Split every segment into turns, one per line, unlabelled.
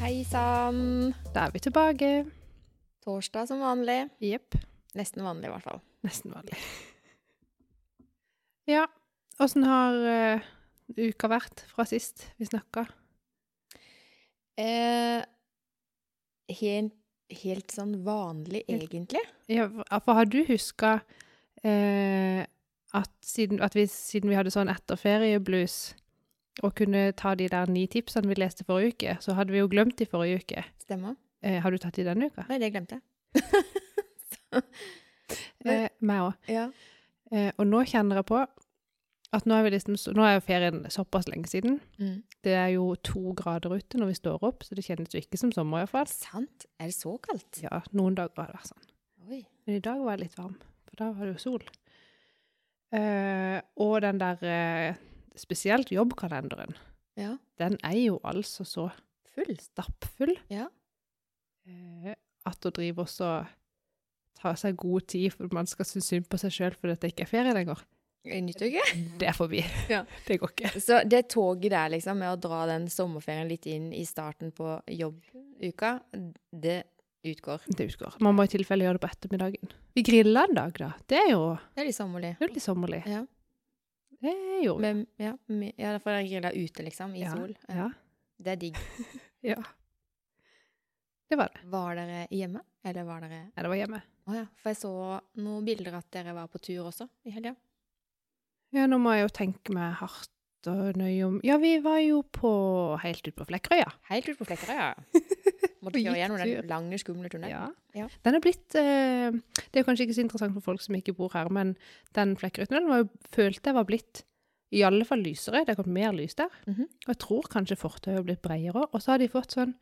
Hei sann!
Da er vi tilbake.
Torsdag som vanlig.
Jepp.
Nesten vanlig, i hvert fall.
Nesten vanlig. Ja, åssen har eh, uka vært fra sist vi snakka?
Eh, helt, helt sånn vanlig,
Helt-
egentlig.
Ja, for har du huska eh, at, siden, at vi, siden vi hadde sånn etter ferie-blues og kunne ta de der ni tipsene vi leste forrige uke, så hadde vi jo glemt de forrige uke.
Stemmer.
Eh, har du tatt de denne uka?
Nei, det glemte jeg.
Eh, meg òg.
Ja.
Eh, og nå kjenner jeg på at nå er, vi liksom, nå er jo ferien såpass lenge siden.
Mm.
Det er jo to grader ute når vi står opp, så det kjennes jo ikke som sommer iallfall.
Sant? Er det så kaldt?
Ja, noen dager har det vært sånn.
Oi.
Men i dag var jeg litt varm, for da var det jo sol. Eh, og den der eh, spesielt jobbkalenderen,
Ja.
den er jo altså så
Full.
stappfull
Ja.
eh, at å drive og så ta seg god tid for man skal synes synd på seg sjøl fordi det ikke er ferie lenger,
Eh, Nytt uke.
det er forbi.
Ja.
Det går ikke.
Så det toget der, liksom, med å dra den sommerferien litt inn i starten på jobbuka, det utgår.
Det utgår. Man må i tilfelle gjøre det på ettermiddagen. Vi grilla en dag, da. Det er jo
Det er litt sommerlig.
det er jo litt sommerlig.
Ja.
Det gjorde vi.
Men, ja, me- ja, derfor er jeg grilla ute, liksom, i sol.
Ja. ja.
Det er digg.
Ja. Det var det.
Var dere hjemme, eller var dere
Nei, det var hjemme.
Å ja, for jeg så noen bilder at dere var på tur også i helga.
Ja, nå må jeg jo tenke meg hardt og nøye om Ja, vi var jo på helt ute på Flekkerøya.
Helt ute på Flekkerøya.
Og
Måtte kjøre
gikk
gjennom
tur.
den lange, skumle tunnelen. Ja.
Den er blitt eh, Det er jo kanskje ikke så interessant for folk som ikke bor her, men den Flekkerøytunnelen var jo- følte jeg var blitt i alle fall lysere. Det har kommet mer lys der.
Mhm.
Og jeg tror kanskje fortauet har blitt bredere. Og så har de fått sånn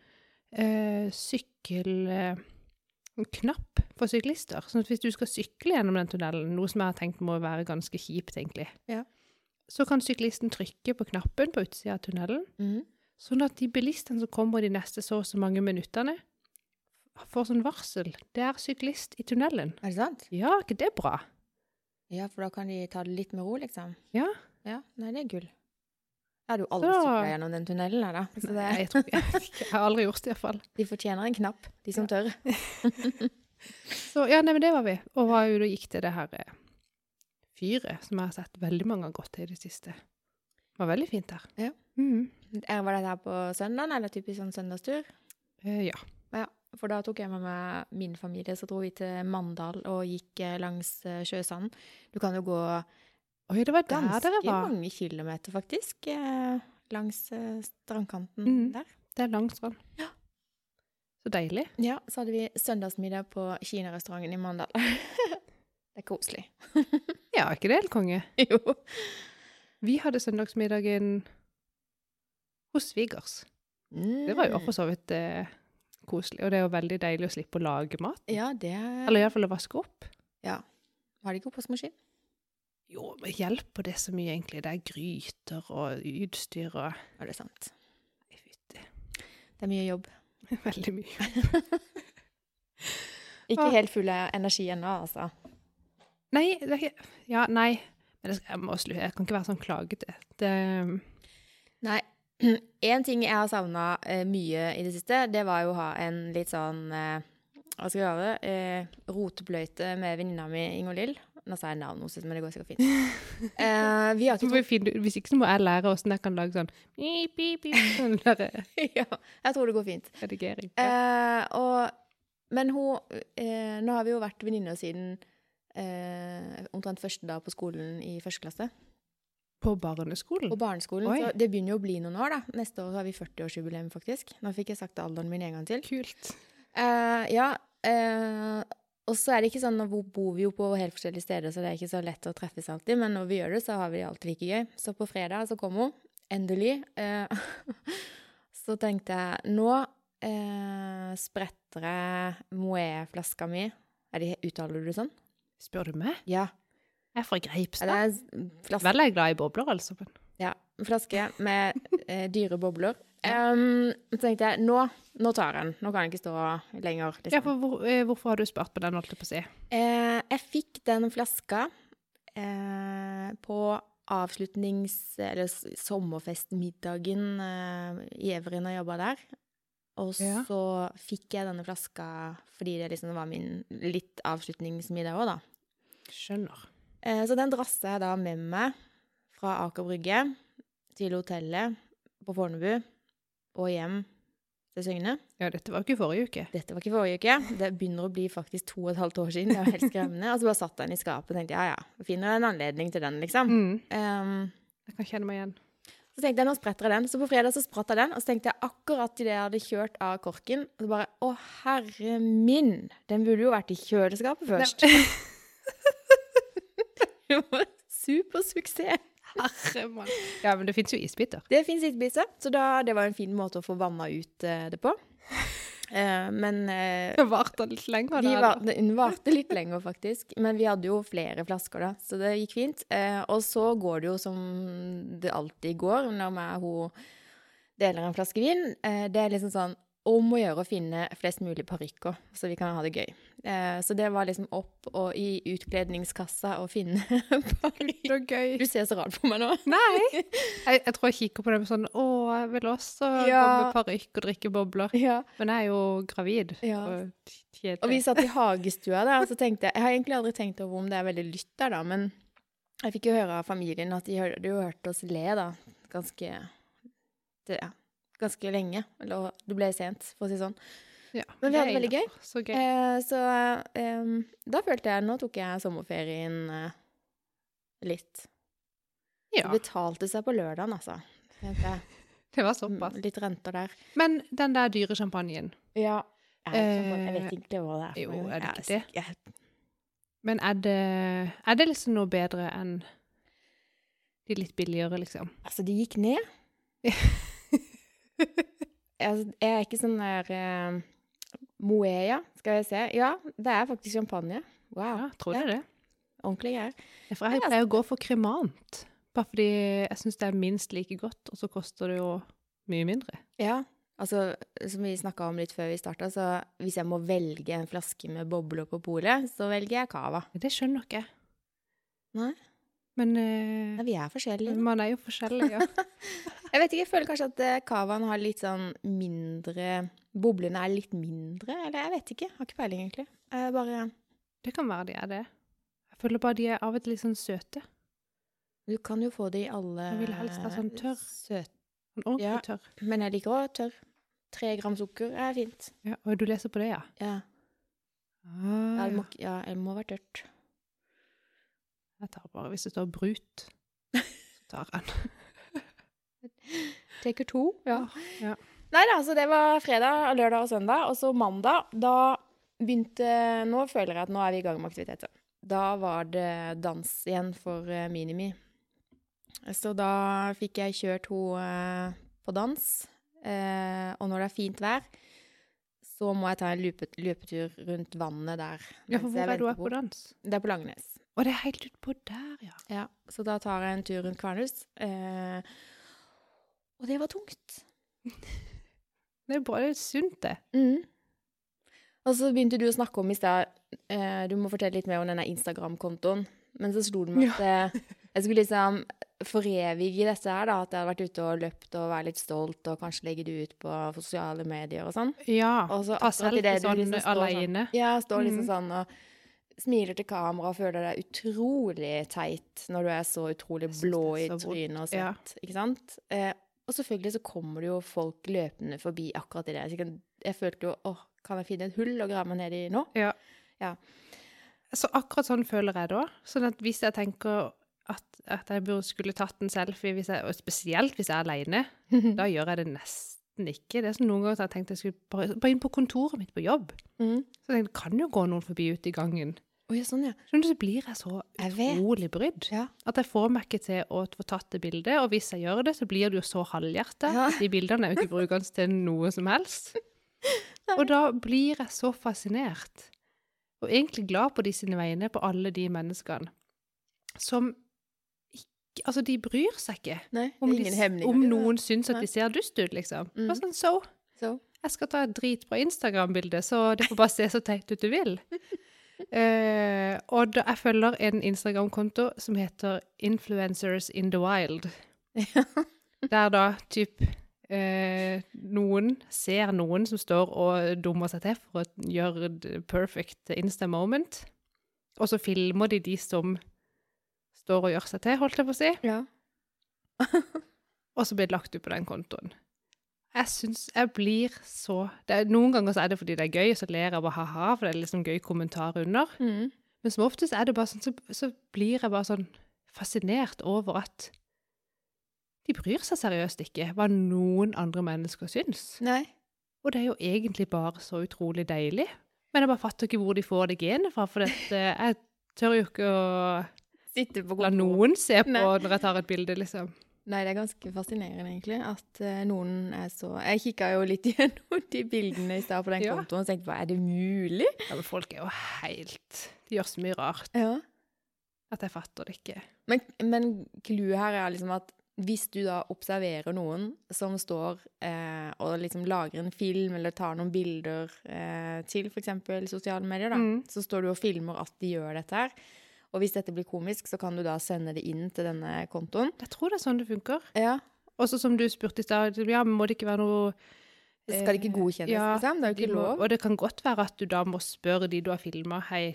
eh, sykkel... Eh, en knapp for syklister. Sånn at hvis du skal sykle gjennom den tunnelen, noe som jeg har tenkt må være ganske kjipt, egentlig,
Ja.
så kan syklisten trykke på knappen på utsida av tunnelen,
Mhm.
sånn at de bilistene som kommer de neste så og så mange minuttene, får sånn varsel. Det er syklist i tunnelen.
Er det sant?
Ja, ikke det er bra?
Ja, for da kan de ta det litt med ro, liksom.
Ja.
Ja, Nei, det er gull. Jeg hadde jo aldri
Så-
sykla gjennom den tunnelen, jeg, da. Så
Nei,
det,
jeg, tror, jeg, jeg har aldri gjort det, iallfall.
de fortjener en knapp, de som tør.
Så ja, nei, men det var vi. Og var jo, da gikk til det her eh, fyret som jeg har sett veldig mange har gått til i det siste. Det var veldig fint der.
Ja.
Mhm.
Er- Var dette her på søndagen, eller typisk sånn søndagstur?
Eh, ja.
Ja, for da tok jeg med meg min familie, så dro vi til Mandal og gikk eh, langs eh, sjøsanden. Du kan jo gå
Oi, det var der
ganske
dere var.
mange kilometer, faktisk, eh, langs eh, strandkanten
Mm.
der.
Det er langt strand.
Ja.
Så deilig.
Ja, så hadde vi søndagsmiddag på kinarestauranten i Mandal. det er koselig.
Ja, ikke det, helt konge?
Jo.
Vi hadde søndagsmiddagen hos svigers.
Mm.
Det var jo for så vidt eh, koselig, og det er jo veldig deilig å slippe å lage mat.
Ja, det er
Eller iallfall å vaske opp.
Har de ikke oppvaskmaskin?
Jo, men hjelper det så mye, egentlig? Det er gryter og utstyr og
Ja, det er sant.
Nei, fytti.
Det er mye jobb.
Veldig mye.
Ikke
Ah.
helt full av energi ennå, altså.
Nei, det er ikke Ja, nei. Men det skal, jeg må slutte. Jeg kan ikke være sånn klagete. Det um,
Nei. En ting jeg har savna mye i det siste, det var jo å ha en litt sånn eh, Hva skal jeg kalle det? Eh, rotebløyte med venninna mi Ingalill. Nå sa jeg navnet hennes, men det går sikkert fint. Eh, vi har
Så
ikke
må vi finne ut- Hvis ikke så må jeg lære åssen jeg kan lage sånn pip, pip, pip, Sånn der
ja, Jeg tror det går fint.
redigering.
Eh, og, men hun eh, Nå har vi jo vært venninner siden eh, omtrent første dag på skolen i første klasse.
På barneskolen?
På barneskolen.
Mm. Oi.
Så det begynner jo å bli noen år, da. Neste år har vi 40-årsjubileum, faktisk. Nå fikk jeg sagt alderen min en gang til.
Kult.
Eh, ja. eh, og så er det ikke sånn, nå bor vi jo på helt forskjellige steder, så det er ikke så lett å treffes alltid, men når vi gjør det, så har vi det alltid like gøy. Så på fredag så kom hun, endelig. eh, så tenkte jeg, nå eh, spretter jeg Moët-flaska mi. Er det, uttaler du det sånn?
Spør du meg?
Ja.
Jeg er fra
Det
Greipstad.
er en flaske
Vel er jeg glad i bobler, altså. men-
Ja, en flaske med eh, dyre bobler. Um, så tenkte jeg, nå, nå tar jeg den. Nå kan jeg ikke stå lenger.
Ja,
Liksom.
for hvor, eh, hvorfor har du spart på den, holdt jeg på å si?
Eh, jeg fikk den flaska eh, på avslutnings- eller s- sommerfestmiddagen eh, i Evrin og jobba der. Og
Ja.
så fikk jeg denne flaska fordi det liksom var min litt avslutningsmiddag òg, da.
Skjønner.
Eh, Så den drassa jeg da med meg fra Aker Brygge til hotellet på Fornebu og hjem til Søgne.
Ja, dette var jo ikke forrige uke.
Dette var ikke forrige uke. Det begynner å bli faktisk to og et halvt år siden. Det er jo helt skremmende. Og så bare satt jeg den i skapet og tenkte ja, ja, finner en anledning til den, liksom.
Mm.
Ehm,
Jeg kan kjenne meg igjen.
så tenkte jeg, nå spretter jeg den. Så på fredag så spratt jeg den, og så tenkte jeg akkurat idet jeg hadde kjørt av korken, så bare å herre min, den burde jo vært i kjøleskapet først. Det var Supersuksess.
Herre mann. Ja, men det fins jo isbiter.
Det fins isbiter, så da, det var en fin måte å få vanna ut eh, det på. Eh, men eh,
Det varte litt lenger.
vi
da,
var,
eller?
den varte litt lenger, faktisk. Men vi hadde jo flere flasker da, så det gikk fint. Eh, og så går det jo som det alltid går når meg og hun deler en flaske vin. Eh, det er liksom sånn om å gjøre å finne flest mulig parykker, så vi kan ha det gøy. Eh, så det var liksom opp og i utkledningskassa å finne parykk.
Så gøy.
Du ser så rart på meg nå.
Nei! Jeg, jeg tror jeg kikker på det med sånn Å, jeg vil også gå
Ja.
med parykk og drikke bobler.
Ja.
Men jeg er jo gravid.
Ja.
Og
Og vi
kjedelig.
satt i hagestua der, og så tenkte jeg Jeg har egentlig aldri tenkt over om det er veldig lytt der, da, men jeg fikk jo høre av familien at de hadde jo hørt oss le, da, ganske det, ja, Ganske lenge. Eller det ble sent, for å si det sånn.
Ja.
Men vi hadde det veldig gøy.
Ja, Så gøy.
Eh, så eh, da følte jeg Nå tok jeg sommerferien eh, litt. Det
Ja,
betalte seg på lørdagen, altså. tenkte jeg.
det var
Mm,
såpass.
Litt renter der.
Men den der dyre champagnen
Ja. Jeg, er ikke sånn- jeg
Eh,
vet ikke hva det er. for
jo,
noe.
er det
Jeg
ikke det?
Jeg,
Men er det, er det liksom noe bedre enn de litt billigere, liksom?
Altså, de gikk ned. altså, jeg er ikke sånn der eh, Moea, skal jeg se. Ja, det er faktisk champagne. Wow,
Ja, tror jeg det.
ordentlige greier.
Ja, For jeg
Ja,
pleier å gå for kremant, bare fordi jeg syns det er minst like godt, og så koster det jo mye mindre.
Ja, altså, som vi snakka om litt før vi starta, så hvis jeg må velge en flaske med bobler på polet, så velger jeg cava.
Men Det skjønner ikke jeg.
Nei.
Men
Nei,
eh,
Vi er forskjellige.
man er jo forskjellig, ja.
Mm. Jeg vet ikke, jeg føler kanskje at eh, cavaen har litt sånn mindre Boblene er litt mindre, eller jeg vet ikke. Har ikke peiling, egentlig. Jeg bare
Det kan være de er det. Jeg føler bare de er av og til litt sånn søte.
Du kan jo få det i alle
Jeg vil helst ha sånn tørr.
søte
Sånn ordentlig
Ja.
tørr.
Men jeg liker òg tørr. Tre gram sukker er fint.
Ja, og du leser på det, ja?
Ja,
Ah,
det
ja.
må, ikke- ja det må være tørt.
Ah, Jeg tar bare hvis det står brut. Så tar jeg den.
Taker to. Ja.
Ja.
Ah. Nei da, så det var fredag, lørdag og søndag. Og så mandag, da begynte Nå føler jeg at nå er vi i gang med aktiviteter. Da var det dans igjen for eh, Minimi. Så da fikk jeg kjørt henne på dans. Eh, og når det er fint vær, så må jeg ta en løpe, løpetur rundt vannet der.
Ja, for
mens jeg
hvor er du
venter
er på dans?
Det er på Langenes.
Å, det er helt utpå der, ja.
Ja, så da tar jeg en tur rundt Kvernhus. Eh, og det var tungt.
Det er bra, det er sunt, det.
Og så begynte du å snakke om i stad eh, Du må fortelle litt mer om denne Instagram-kontoen. Men så slo det meg at eh, jeg skulle liksom forevige dette her, da. At jeg hadde vært ute og løpt og vært litt stolt, og kanskje legge det ut på sosiale medier og sånn.
Ja.
Og så
Ta
akkurat i
selfie
det du
sånn
liksom står sånn-
aleine.
Ja, står liksom
Mhm.
sånn og smiler til kamera og føler deg utrolig teit når du er så utrolig
Jeg synes
blå i
det er så vondt,
trynet og
ja.
svett, ikke sant? Eh, og selvfølgelig så kommer det jo folk løpende forbi akkurat i det. Så jeg, kan, jeg følte jo, åh, kan jeg finne et hull og grave meg ned i nå?
Så akkurat sånn føler jeg da. Sånn at hvis jeg tenker at, at jeg burde skulle tatt en selfie, hvis jeg, og spesielt hvis jeg er aleine, da gjør jeg det nesten ikke. Det er sånn noen ganger at jeg tenkte jeg skulle bare, bare inn på kontoret mitt på jobb.
Mm.
Så jeg tenkte, det kan jo gå noen forbi ute i gangen.
Å, ja, sånn ja.
Skjønner du, så blir jeg så
Jeg vet.
utrolig brydd.
Ja.
At jeg får meg ikke til å få tatt det bildet, og hvis jeg gjør det, så blir det jo så halvhjertet.
Ja.
De bildene er jo ikke brukende til noe som helst. Og da blir jeg så fascinert, og egentlig glad på de sine vegne, på alle de menneskene som ikke, altså de bryr seg ikke
Nei, det
om,
er
de,
ingen
s-
hemninger.
om
det da.
noen syns at
Nei.
de ser dust ut, liksom.
Mm.
Bare sånn, so
Så,
jeg skal ta et dritbra Instagram-bilde, så det får bare se så teit ut du vil. Eh, og da, jeg følger en Instagram-konto som heter Influencers in the Wild. Der da typ eh, eh, noen ser noen som står og dummer seg til for å gjøre the perfect insta moment, og så filmer de de som står og gjør seg til, holdt jeg på å si,
Ja.
og så blir det lagt ut på den kontoen. Jeg syns jeg blir så det er, Noen ganger så er det fordi det er gøy, og så ler jeg bare ha-ha, for det er liksom gøy kommentar under.
Mm.
Men som oftest er det bare sånn, så, så blir jeg bare sånn fascinert over at de bryr seg seriøst ikke hva noen andre mennesker syns.
Nei.
Og det er jo egentlig bare så utrolig deilig. Men jeg bare fatter ikke hvor de får det genet fra, for dette, jeg tør jo ikke å
Sitte på
la noen se på
Nei.
når jeg tar et bilde, liksom.
Nei, det er ganske fascinerende, egentlig, at eh, noen er så Jeg kikka jo litt gjennom de bildene i stad på den
Ja.
kontoen og tenkte hva, er det mulig?
Ja, men folk er jo helt De gjør så mye rart
Ja.
at jeg fatter det ikke.
Men, men clouet her er liksom at hvis du da observerer noen som står eh, og liksom lager en film eller tar noen bilder eh, til f.eks. sosiale medier, da,
Mm.
så står du og filmer at de gjør dette her. Og hvis dette blir komisk, så kan du da sende det inn til denne kontoen.
Jeg tror det er sånn det funker.
Ja,
Og så som du spurte i stad, ja, men må det ikke være noe eh,
Skal det ikke godkjennes,
ja,
liksom? Det er jo
De
ikke
må,
lov.
og det kan godt være at du da må spørre de du har filma, hei,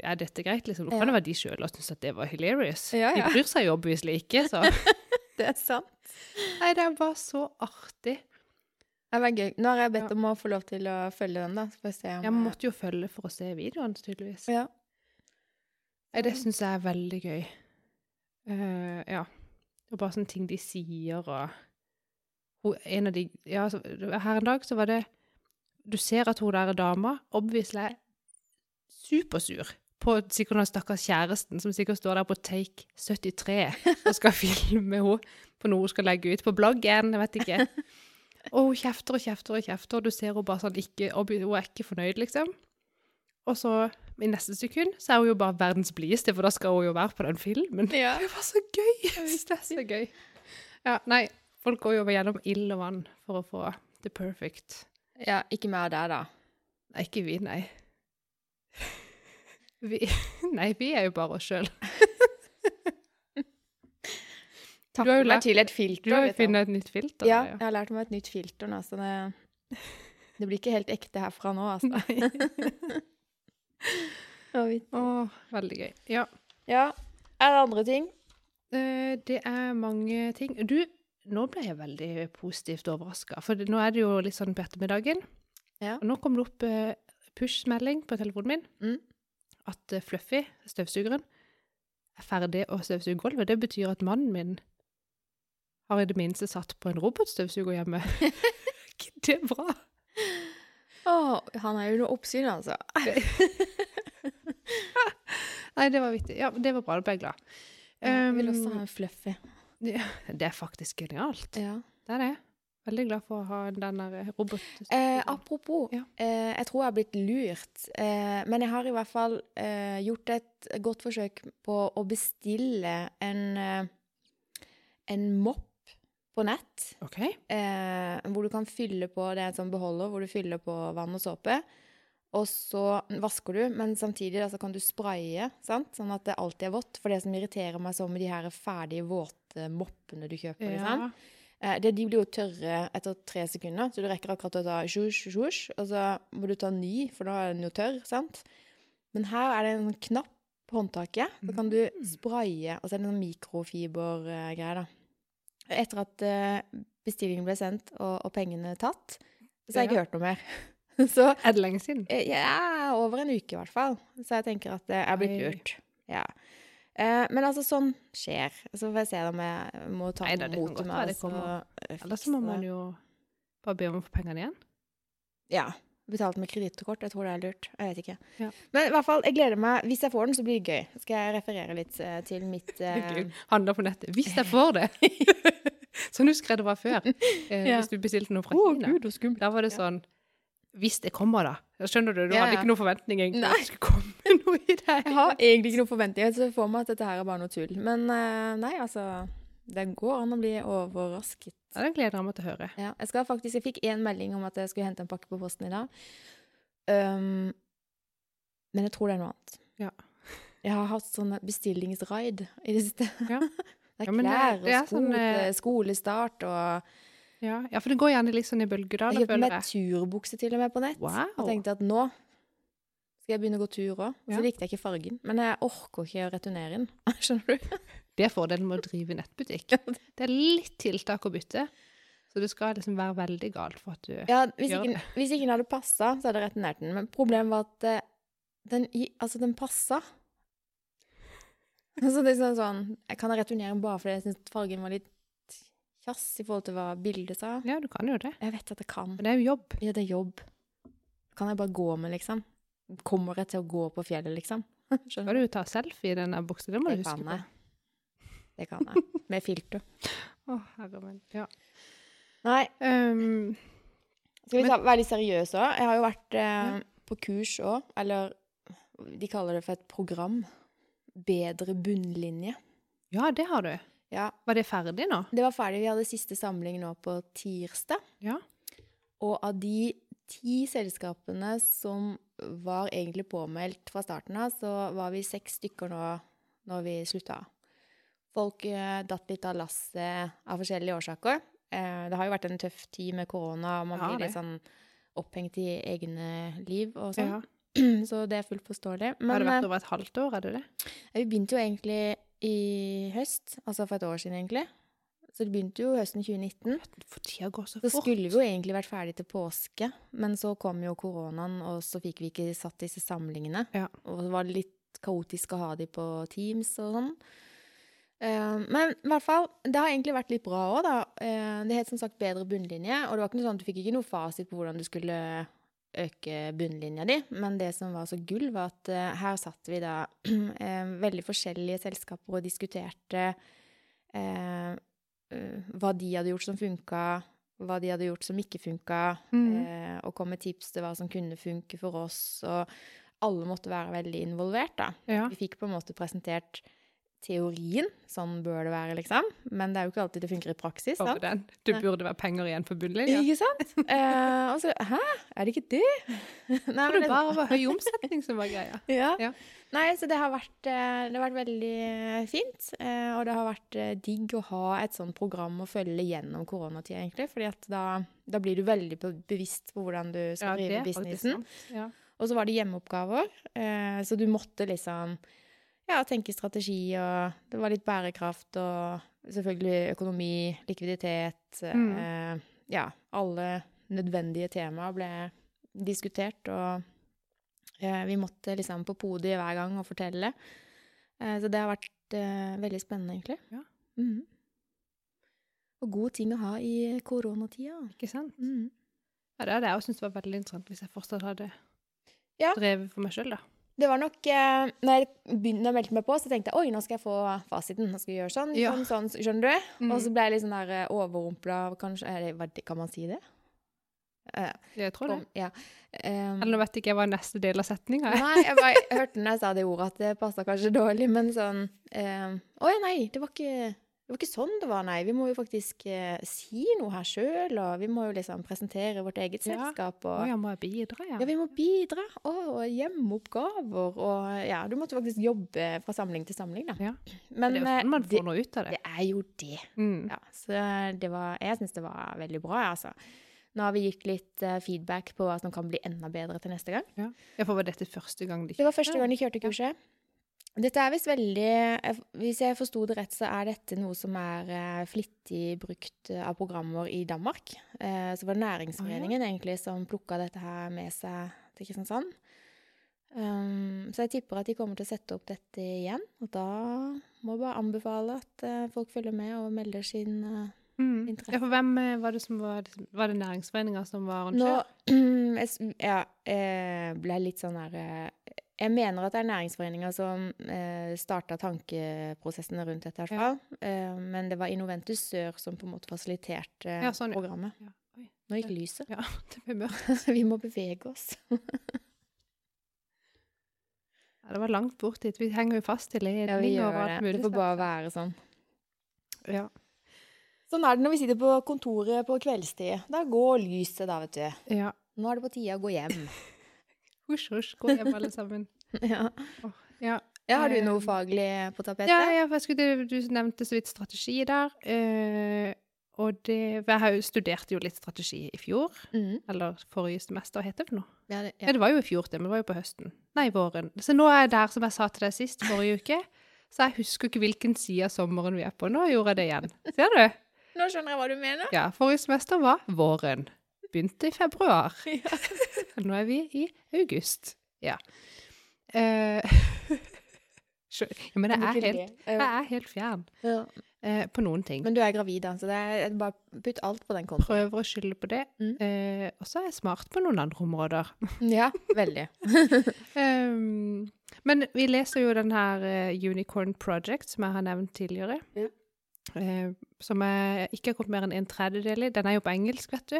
er dette greit? Liksom. Nå
Ja.
kan det være de sjøl og synes at det var hilarious.
Ja, ja.
De bryr seg jo obviously ikke, så
Det er sant.
Nei, det er bare så artig.
Det var gøy. Nå har jeg bedt
Ja.
om å få lov til å følge den, da. Så får jeg se om
Jeg måtte jo følge for å se videoene, tydeligvis.
Ja.
Nei, det syns jeg er veldig gøy. Eh, ja. Og bare sånne ting de sier og hun, En av de Ja, så, her en dag så var det Du ser at hun der dama obviously er supersur på sikkert den stakkars kjæresten som sikkert står der på take 73 og skal filme henne på noe hun skal legge ut på bloggen, jeg vet ikke. Og hun kjefter og kjefter og kjefter, og du ser hun bare sånn ikke obvi- Hun er ikke fornøyd, liksom. Og så, i neste sekund, så er hun jo bare verdens blideste, for da skal hun jo være på den filmen. Det
ja.
er jo bare så gøy! Jeg synes det er så gøy. Ja, nei, folk går jo gjennom ild og vann for å få the perfect.
ja. Ikke mer der, da.
Nei, ikke vi, nei. Vi, nei, vi er jo bare oss sjøl.
Takk
Du har jo lært-
meg til et
Du
filter.
har jo
liksom.
funnet et nytt filter.
Ja,
da,
jeg har lært meg et nytt filter nå, så det, det blir ikke helt ekte herfra nå, altså.
Nei.
Og vi-
Å, veldig gøy. Ja.
Ja, er det andre ting?
Eh, Det er mange ting. Du, nå ble jeg veldig positivt overraska. For det- nå er det jo litt sånn på ettermiddagen.
Ja.
Og nå kom det opp eh, push-melding på telefonen min
Mm.
at eh, Fluffy, støvsugeren, er ferdig å støvsuge gulvet. Det betyr at mannen min har i det minste satt på en robotstøvsuger hjemme. Er ikke det bra?
Å, han er jo under oppsyn, altså.
Nei, det var vittig. Ja, det var bra. Da ble jeg glad.
Jeg vil
Um,
også ha en fluffy.
det er faktisk genialt.
Ja.
Det er det. Veldig glad for å ha den der
Eh,
robotstøvsugeren.
apropos,
Ja.
eh, jeg tror jeg har blitt lurt. Eh, men jeg har i hvert fall eh, gjort et godt forsøk på å bestille en, eh, en mopp på nett.
OK.
eh, hvor du kan fylle på Det er en sånn beholder hvor du fyller på vann og såpe. Og så vasker du, men samtidig da, så kan du spraye, sant? sånn at det alltid er vått. For det som irriterer meg så med de her ferdige våte moppene du kjøper, liksom.
Ja.
Eh, det, de blir jo tørre etter tre sekunder, så du rekker akkurat å ta sjusj, sjusj, og så må du ta ny, for da er den jo tørr, sant? Men her er det en sånn knapp på håndtaket, så kan du spraye, og så er det en sånn mikrofibergreie, da. Etter at eh, bestillingen ble sendt og, og pengene tatt, så har jeg ikke hørt noe mer. så
Er det lenge siden?
eh, ja, over en uke i hvert fall. Så jeg tenker at eh, jeg er blitt
Oi.
lurt. Ja. Eh, Men altså, sånn skjer. Så får jeg se om jeg må ta
Neida, det kan
mot
godt
til
være
meg.
det
altså,
kommer.
eh,
Ellers så må
fikse-
man jo bare be om å få pengene igjen.
eh, Ja. Betalt med kredittkort. Jeg tror det er lurt. Jeg vet ikke.
Ja.
Men i hvert fall, jeg gleder meg. Hvis jeg får den, så blir det gøy. Skal jeg referere litt eh, til mitt eh,
Gud, Handler på nettet. Hvis jeg får det! sånn husker jeg det var før. Eh,
Ja.
Hvis du bestilte noe fra
Å,
Kina.
Gud, så skummelt.
Da var det sånn Hvis det kommer, da. Da Skjønner du? Du
Ja,
hadde
ja.
ikke noen forventning egentlig
Nei.
at det skulle komme noe i deg.
Jeg har egentlig ikke noen forventninger, så jeg får meg at dette her er bare noe tull. Men eh, nei, altså. Det går an å bli overrasket.
Ja, den gleder jeg meg til å høre.
Ja, jeg skal faktisk, jeg fikk én melding om at jeg skulle hente en pakke på posten i dag. Um, men jeg tror det er noe annet.
Ja.
Jeg har hatt sånn bestillingsraid i det siste.
Ja.
Det er
Ja, men det-
klær og
det er
sko
sånn,
til
eh,
skolestart og
Ja. ja, for det går gjerne litt sånn i bølgedaler,
Jeg kjøpte
føler
meg
jeg.
turbukse til og med på nett. Og
Wow!
tenkte at nå skal jeg begynne å gå tur òg. Så
Ja.
likte jeg ikke fargen. Men jeg orker ikke å returnere den. Skjønner du?
Det er fordelen med å drive nettbutikk. Det er litt tiltak å bytte, så det skal liksom være veldig galt for at du
Ja, hvis,
Gjør
ikke, den- hvis ikke den hadde passa, så hadde jeg returnert den. Men problemet var at eh, den, gi- altså, den passa. Altså, det er sånn, sånn Jeg kan returnere den bare fordi jeg syns fargen var litt kjass i forhold til hva bildet sa.
Ja, du kan jo det.
Jeg vet at jeg kan.
Men det er jo jobb.
Ja, det er jobb. Kan jeg bare gå med, liksom? Kommer jeg til å gå på fjellet, liksom?
Da
Skjønner
kan
du?
du ta selfie i denne buksa, det må du
Det
huske
kan
på.
jeg. Det kan jeg. Med filter.
Å, herre min. Ja.
Nei,
Um,
skal vi
Men-
ta, være litt seriøse òg? Jeg har jo vært eh, på kurs òg, eller de kaller det for et program. Bedre bunnlinje.
ja, det har du.
Ja,
Var det ferdig nå?
det var ferdig. Vi hadde siste samling nå på tirsdag.
Ja.
Og av de ti selskapene som var egentlig påmeldt fra starten av, så var vi seks stykker nå når vi slutta. Folk eh, datt litt av lasset av forskjellige årsaker. Eh, det har jo vært en tøff tid med korona, og man
Ja,
blir
det.
litt sånn opphengt i egne liv og sånn.
ja.
Så det er fullt forståelig.
Har
Men
det vært
eh,
over et halvt år, er det det?
vi begynte jo egentlig i høst, altså for et år siden egentlig. Så det begynte jo høsten 2019.
For tida går så
Så
fort.
skulle vi jo egentlig vært ferdig til påske, men så kom jo koronaen, og så fikk vi ikke satt disse samlingene.
Ja.
Og det var litt kaotisk å ha de på Teams og sånn. Eh, Men i hvert fall, det har egentlig vært litt bra òg, da. Eh, Det het som sagt bedre bunnlinje, og det var ikke noe sånn, du fikk ikke noe fasit på hvordan du skulle øke bunnlinja di, men det som var så gull, var at eh, her satt vi da eh, veldig forskjellige selskaper og diskuterte eh, eh, hva de hadde gjort som funka, hva de hadde gjort som ikke funka,
Mhm.
eh, og kom med tips til hva som kunne funke for oss. Og alle måtte være veldig involvert, da.
Ja.
Vi fikk på en måte presentert teorien, sånn bør det være, liksom. Men det er jo ikke alltid det funker i praksis.
Over
Sant?
den. Det
Nei.
burde være penger igjen på bunnlinja.
Ikke sant? Eh, og så Hæ, er det ikke det? Nei,
For
det-
det bare var høy omsetning som var greia.
Ja.
Ja.
Nei, så det har vært, eh, det har vært veldig eh, fint. eh, Og det har vært eh, digg å ha et sånt program å følge gjennom koronatida, egentlig. fordi at da, da blir du veldig be- bevisst på hvordan du skal
det
drive
er faktisk
businessen.
sant. Ja.
Og så var det hjemmeoppgaver, eh, så du måtte liksom ja, tenke strategi, og det var litt bærekraft og selvfølgelig økonomi, likviditet eh, Ja, alle nødvendige temaer ble diskutert, og eh, vi måtte liksom på podiet hver gang og fortelle. Eh, så det har vært eh, veldig spennende, egentlig.
Ja.
Mhm. Og gode ting å ha i koronatida.
Ikke sant?
Mhm.
Ja, det hadde jeg også syntes var veldig interessant hvis jeg fortsatt hadde
Ja.
drevet for meg sjøl, da.
Det var nok eh, Når jeg begynte å melde meg på, så tenkte jeg oi, nå skal jeg få fasiten. Nå skal vi gjøre sånn,
Ja.
sånn, sånn, skjønner du?
Mm.
Og så ble jeg litt sånn der eh, overrumpla av kanskje er det, hva- Kan man si det? Eh,
Jeg tror det.
om- ja. Em,
Eller nå vet jeg ikke hva neste del av setninga er.
nei, jeg, bare, jeg hørte når jeg sa det ordet at det passa kanskje dårlig, men sånn um, Å ja, nei, det var, ikke, det var ikke sånn det var, nei. Vi må jo faktisk eh, si noe her sjøl, og vi må jo liksom presentere vårt eget
Ja.
selskap.
Å
Og,
ja, må jeg bidra, ja?
ja, vi må bidra. Og hjemmeoppgaver. Og ja, du måtte faktisk jobbe fra samling til samling, da.
Ja.
Men
det er jo sånn man
eh, det,
får noe ut av det.
det er jo det.
Mm.
Ja, så eh, det var, jeg syns det var veldig bra, jeg, altså. Nå har vi gitt litt eh, feedback på hva som kan bli enda bedre til neste gang.
Ja. Ja, for var dette første gang de
Det var første gang de kjørte kurset. Dette er visst veldig jeg- Hvis jeg forsto det rett, så er dette noe som er eh, flittig brukt eh, av programmer i Danmark. Eh, Så var det Næringsforeningen egentlig som plukka dette her med seg til Kristiansand. Um, så jeg tipper at de kommer til å sette opp dette igjen. Og da må jeg bare anbefale at eh, folk følger med og melder sin eh,
Mm.
Interesse.
Ja, for hvem eh, var det som var Var det næringsforeninga som var
Nå
arrangør?
jeg, s- ja, eh, ble litt sånn her eh, Jeg mener at det er næringsforeninga som eh, starta tankeprosessene rundt dette, i hvert fall. Eh, men det var Innoventus Sør som på en måte fasiliterte
Ja, sånn, ja.
programmet.
Ja. Oi,
Nå gikk lyset.
ja, det ble mørkt.
Vi må bevege oss.
Ja, det var langt bort dit. Vi henger jo fast i
Ja, vi
ledning og
gjør
alt
det.
mulig.
Det får bare være sånn.
slags. Ja.
Sånn er det når vi sitter på kontoret på kveldstid. Da går lyset, da, vet du.
ja.
Nå er det på tide å gå hjem.
Husj, husj, gå hjem alle sammen.
ja.
Ja.
ja, har du
Eh,
noe faglig på tapetet?
Ja, ja, for jeg skulle, du nevnte så vidt strategi der. Eh, Og det, for jeg har jo studerte jo litt strategi i fjor,
Mm.
eller forrige semester, hva heter det for noe?
Ja, det,
Ja.
ja.
det var jo i fjor det, men det var jo på høsten. Nei, våren. Så nå er jeg der som jeg sa til deg sist forrige uke. Så jeg husker ikke hvilken side av sommeren vi er på. Nå gjorde jeg det igjen. Ser du?
Nå skjønner jeg hva du mener.
Ja, forrige semester var våren. Begynte i februar. Nå er vi i august. Ja. Eh, skjø- ja men jeg er helt, jeg er helt fjern
ja.
eh, på noen ting.
Men du er gravid, da, så det er bare putt alt på den kontoen.
Prøver å skylde på det.
Mm.
Eh, og så er jeg smart på noen andre områder.
Ja, veldig.
Ehm, men vi leser jo den her eh, Unicorn Project, som jeg har nevnt tidligere.
Ja.
Eh, som jeg ikke har kommet mer enn en tredjedel i. Den er jo på engelsk, vet du.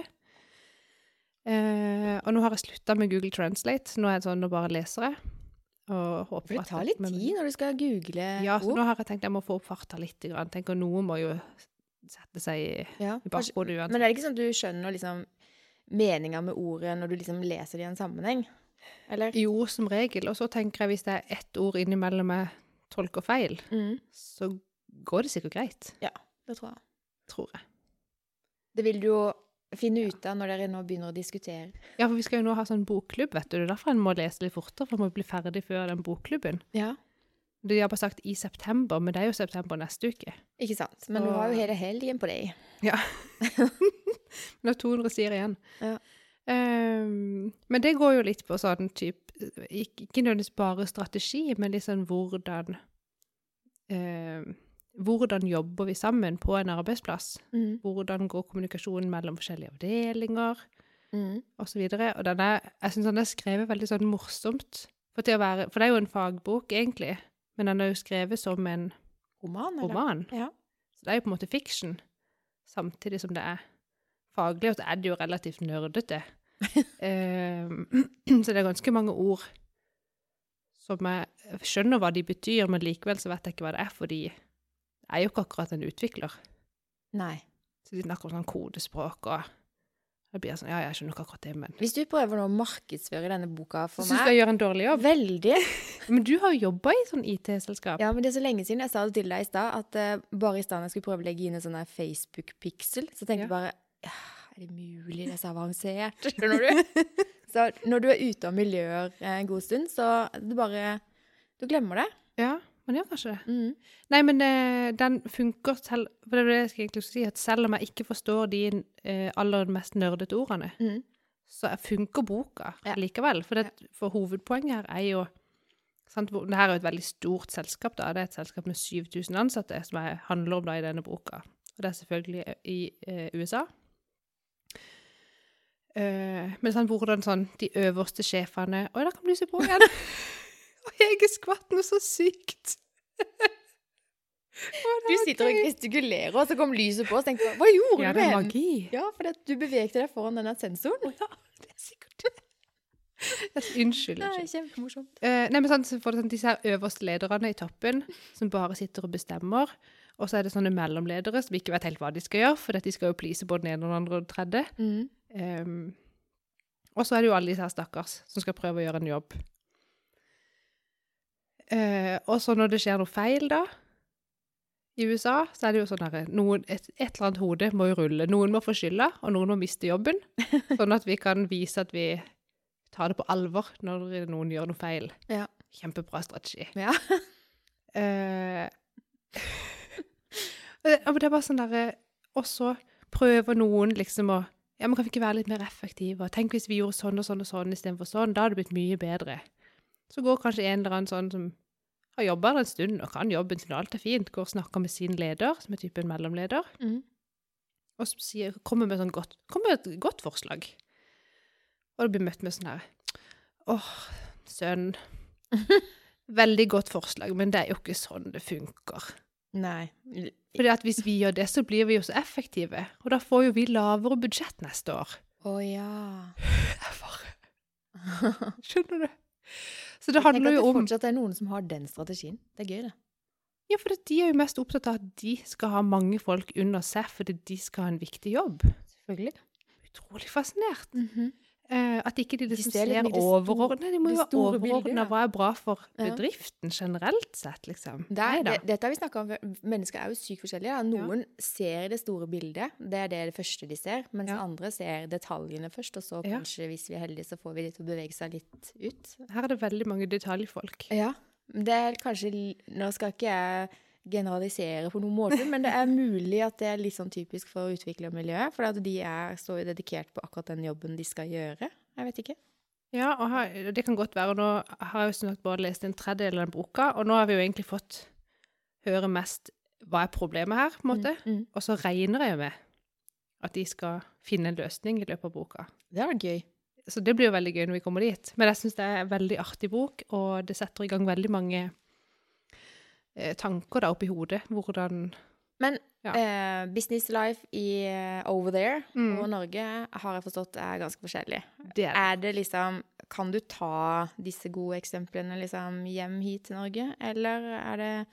Eh, og nå har jeg slutta med Google Translate. Nå er det sånn, nå bare leser jeg. Og håper
For det tar litt tid Eh, oh. når du skal google
Ja, så
ord.
nå har jeg tenkt jeg må få opp farta litt. Grann. Tenker noe må jo sette seg i,
Ja,
i
kanskje-
bakhodet uansett.
Men er det ikke sånn at du skjønner liksom meninga med ordet når du liksom leser det i en sammenheng? Eller?
Jo, som regel. Og så tenker jeg hvis det er ett ord innimellom jeg tolker feil,
Mm,
så går det sikkert greit.
det tror jeg.
Tror jeg.
Det vil du jo finne ut av når dere nå begynner å diskutere.
Ja, for vi skal jo nå ha sånn bokklubb, vet du. Det er derfor en må lese litt fortere, for en må bli ferdig før den bokklubben.
Ja.
De har bare sagt i september, men det er jo september neste uke.
Ikke sant? Men du har jo hele helgen på deg.
Nå er 200 sider igjen.
Ja.
Ehm, men det går jo litt på sånn type Ikke ikke nødvendigvis bare strategi, men litt sånn hvordan ehm, Hvordan jobber vi sammen på en arbeidsplass?
Mm.
Hvordan går kommunikasjonen mellom forskjellige avdelinger?
Mm.
og så videre. Og den er, jeg syns den er skrevet veldig sånn morsomt. For, til å være, for det er jo en fagbok, egentlig, men den er jo skrevet som en
Roman, eller?
roman.
Ja.
Så det er jo på en måte fiction, samtidig som det er faglig, og så er det jo relativt nerdete. Ehm, så det er ganske mange ord som jeg skjønner hva de betyr, men likevel så vet jeg ikke hva det er, fordi jeg er jo ikke akkurat en utvikler.
Nei.
Så de snakker om sånn kodespråk og Da blir jeg sånn Ja, jeg skjønner ikke akkurat det, men
Hvis du prøver nå å markedsføre denne boka
Jeg
for
syns jeg
meg
gjør en dårlig jobb.
Veldig.
Men du har jo jobba i sånn IT-selskap.
Ja, men det er så lenge siden jeg sa det til deg i stad, at eh, bare i stedet jeg skulle prøve å legge inn en sånn her Facebook-piksel, så
Ja.
tenkte jeg bare ja, Er det mulig? Det er så avansert. Skjønner du? så når du er ute av miljøer eh, en god stund, så du bare Du glemmer det.
Ja, man gjør kanskje det.
Mm.
Nei, men eh, den funker selv For det var det jeg skulle egentlig si, at selv om jeg ikke forstår de eh, aller mest nerdete ordene,
Mm.
så funker boka
Ja.
likevel. For, det, for hovedpoenget her er jo sant, hvor- Det her er jo et veldig stort selskap. da. Det er et selskap med 7000 ansatte, som jeg handler om da i denne boka. Og det er selvfølgelig i eh, USA. Eh, men sånn, hvordan sånn de øverste sjefene Oi, da kan du se på igjen! Og Hege skvatt noe så sykt!
Du sitter og gestikulerer, og så kom lyset på, og så tenkte jeg Hva gjorde
Ja,
du
det er
med den?
magi.
Ja, for det, at du bevegte deg foran denne sensoren.
Ja, det er sikkert det. Unnskyld.
Det er
unnskyld.
kjempemorsomt.
Eh, nei, men sant, så får du sånn, disse her øverste lederne i toppen som bare sitter og bestemmer. Og så er det sånne mellomledere som ikke vet helt hva de skal gjøre, for de skal jo please både den ene og den andre og den tredje.
Mm.
Ehm, og så er det jo alle disse her stakkars som skal prøve å gjøre en jobb. Eh, og så når det skjer noe feil, da, i USA, så er det jo sånn her noen- et, et eller annet hode må jo rulle. Noen må få skylda, og noen må miste jobben. Sånn at vi kan vise at vi tar det på alvor når noen gjør noe feil.
Ja.
Kjempebra strategi.
Ja.
Eh, ja, men det er bare sånn derre Og så prøver noen liksom å ja, men Kan vi ikke være litt mer effektive? Og Tenk hvis vi gjorde sånn og sånn og sånn istedenfor sånn. Da hadde det blitt mye bedre. Så går kanskje en eller annen sånn som har jobba der en stund og kan jobben sin, og alt er fint, går og snakker med sin leder, som er typen mellomleder,
Mm.
og så sier, kommer med, sånn godt, kommer med et godt forslag. Og det blir møtt med sånn her Åh, sønn. Veldig godt forslag, men det er jo ikke sånn det funker.
Nei. Å
Fordi at hvis vi gjør det, så blir vi jo så effektive. Og da får jo vi lavere budsjett neste år.
ja.
Jeg bare Skjønner du? Så det
Tenk at
handler
det
jo om
fortsatt er noen som har den strategien. Det er gøy, det.
Ja, for at de er jo mest opptatt av at de skal ha mange folk under seg fordi de skal ha en viktig jobb.
Selvfølgelig.
Utrolig fascinert. Eh, at ikke de liksom
Mhm. ser litt
ser
mye det store-
overordna. De må
det
jo være
store bildet,
overordna
ja.
hva er bra for
Ja.
bedriften generelt sett, liksom.
Det er,
Neida.
det, dette har vi snakka om før. Mennesker er jo sykt forskjellige. Da.
Ja.
Noen ser det store bildet, det er det, det første de ser. Mens
Ja.
andre ser detaljene først, og så
Ja.
kanskje, hvis vi er heldige, så får vi de til å bevege seg litt ut.
Her er det veldig mange detaljfolk.
Ja. Det er kanskje l- Nå skal ikke jeg generalisere på noen måte, men det er mulig at det er litt sånn typisk for utviklermiljøet. For at de er, står jo dedikert på akkurat den jobben de skal gjøre. Jeg vet ikke.
Ja, og her, det kan godt være. Og nå har jeg jo som sagt både lest en tredjedel av den boka, og nå har vi jo egentlig fått høre mest hva er problemet her, på en måte.
Mm, mm.
Og så regner jeg jo med at de skal finne en løsning i løpet av boka.
Det hadde vært gøy.
Så det blir jo veldig gøy når vi kommer dit. Men jeg syns det er en veldig artig bok, og det setter i gang veldig mange eh, tanker da oppi hodet. Hvordan
Men
Ja.
eh, business life i eh, over there
Mm.
og Norge har jeg forstått er ganske forskjellig.
det er.
Er det liksom Kan du ta disse gode eksemplene liksom hjem hit til Norge, eller er det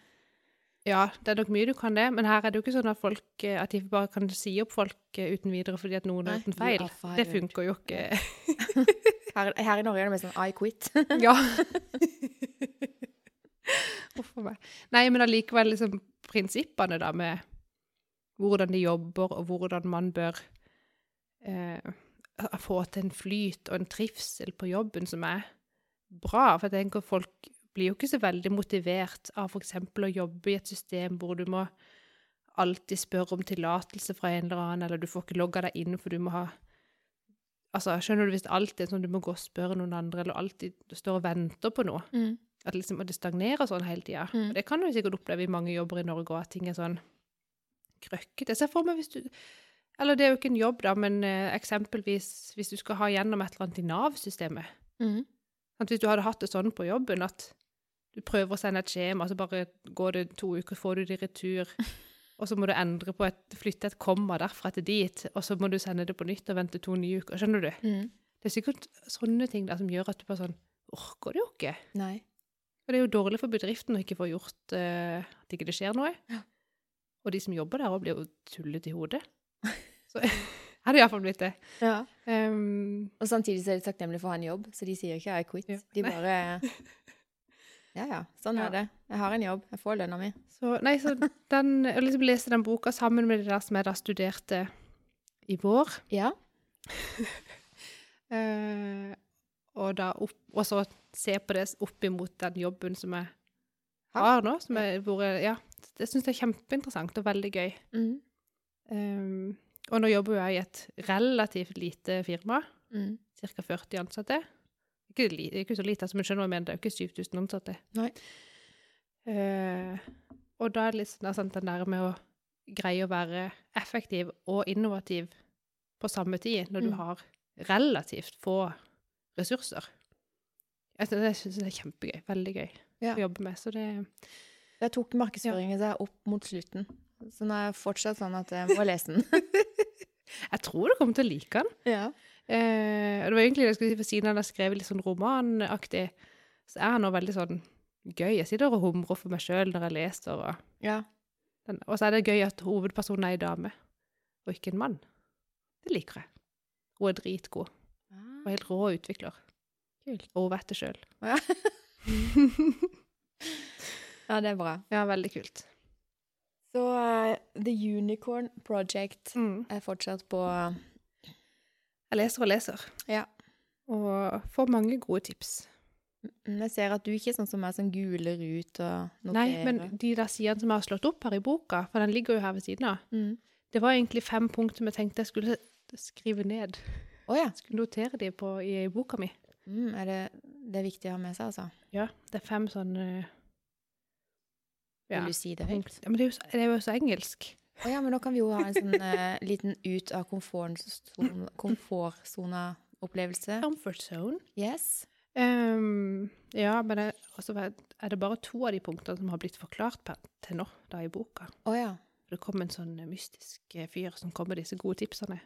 Ja, det er nok mye du kan det, men her er det jo ikke sånn at folk eh, At de bare kan si opp folk eh, uten videre fordi at noen
Nei,
har gjort en
you
feil.
are fired.
Det funker jo ikke.
Her, her i Norge er det mer sånn I quit.
Ja. Uff a meg. Nei, men allikevel liksom prinsippene da med hvordan de jobber, og hvordan man bør eh, få til en flyt og en trivsel på jobben som er bra. For jeg tenker folk blir jo ikke så veldig motivert av f.eks. å jobbe i et system hvor du må alltid spørre om tillatelse fra en eller annen, eller du får ikke logga deg inn, for du må ha altså, Skjønner du hvis det alltid er sånn du må gå og spørre noen andre, eller alltid står og venter på noe?
Mm.
At liksom, og det stagnerer sånn hele tida.
Mm.
Og Det kan du sikkert oppleve i mange jobber i Norge òg, at ting er sånn krøkkete. Jeg ser for meg hvis du Eller det er jo ikke en jobb, da, men eh, eksempelvis hvis du skal ha gjennom et eller annet i Nav-systemet.
Mm.
Sant, hvis du hadde hatt det sånn på jobben at du prøver å sende et skjema, så bare går det to uker, får du det i retur, og så må du endre på et, flytte et komma derfra til dit, og så må du sende det på nytt og vente to nye uker. Skjønner du?
Mm.
Det er sikkert sånne ting da, som gjør at du bare sånn Orker det jo ikke.
Nei.
Og det er jo dårlig for bedriften å ikke få gjort eh, at ikke det skjer noe.
Ja.
Og de som jobber der òg, blir jo tullet i hodet. Så er det iallfall blitt det.
Ja.
Um,
Og samtidig så er de takknemlige for å ha en jobb, så de sier ikke I quit.
Ja.
De bare Ja ja, sånn
Ja.
er det. Jeg har en jobb. Jeg får lønna mi.
Så, nei, så den, jeg liksom leste den boka sammen med det der som jeg da studerte i vår.
Ja.
Eh, og, da opp, og så se på det opp imot den jobben som jeg har nå. Som jeg, hvor jeg, ja, det syns jeg er kjempeinteressant og veldig gøy.
Mm.
Eh, og nå jobber jo jeg i et relativt lite firma,
Mm.
ca. 40 ansatte. Ikke, li, ikke så lite, altså, men skjønner hva jeg mener, det er jo ikke 7000 ansatte.
Nei.
Eh, og da er det litt sånn, der, sant, den der med å greie å være effektiv og innovativ på samme tid, når du
Mm.
har relativt få ressurser. Jeg synes, jeg synes det er kjempegøy. Veldig gøy
Ja.
å jobbe med. Så det
Der tok markedsføringen seg opp mot slutten. Så nå er jeg fortsatt sånn at jeg må lese den.
Jeg tror du kommer til å like den.
ja.
Eh, og det var egentlig det jeg skulle si, for siden han har skrevet litt sånn romanaktig, så er han nå veldig sånn gøy. Jeg sitter og humrer for meg sjøl når jeg leser, og,
ja.
den, og så er det gøy at hovedpersonen er ei dame, og ikke en mann. Det liker jeg. Hun er dritgod. Og
Ah.
helt rå utvikler. Kult. Og hun vet det sjøl.
Ja. ja, det er bra.
Ja, veldig kult.
Så eh, The Unicorn Project er fortsatt på
Mm. Jeg leser og leser.
Ja.
Og får mange gode tips.
Men Jeg ser at du ikke er sånn som meg som guler ut og noterer.
Nei, men de der sidene som jeg har slått opp her i boka, for den ligger jo her ved siden av,
mm.
det var egentlig fem punkter vi tenkte jeg skulle skrive ned.
Å ja.
Jeg skulle notere de på, i, i boka mi.
Mm, er det, det er viktig å ha med seg, altså.
Ja, det er fem sånne
Vil du si det høyt?
punkter. Ja, men det er jo så, det er jo så engelsk.
Å ja, men nå kan vi jo ha en sånn eh, liten ut av komfortson- komfortsona-opplevelse.
Comfort zone.
Yes.
Ehm, ja, men jeg, altså, er det bare to av de punktene som har blitt forklart per, til nå, da i boka?
Å ja.
For det kom en sånn eh, mystisk eh, fyr som kom med disse gode tipsene.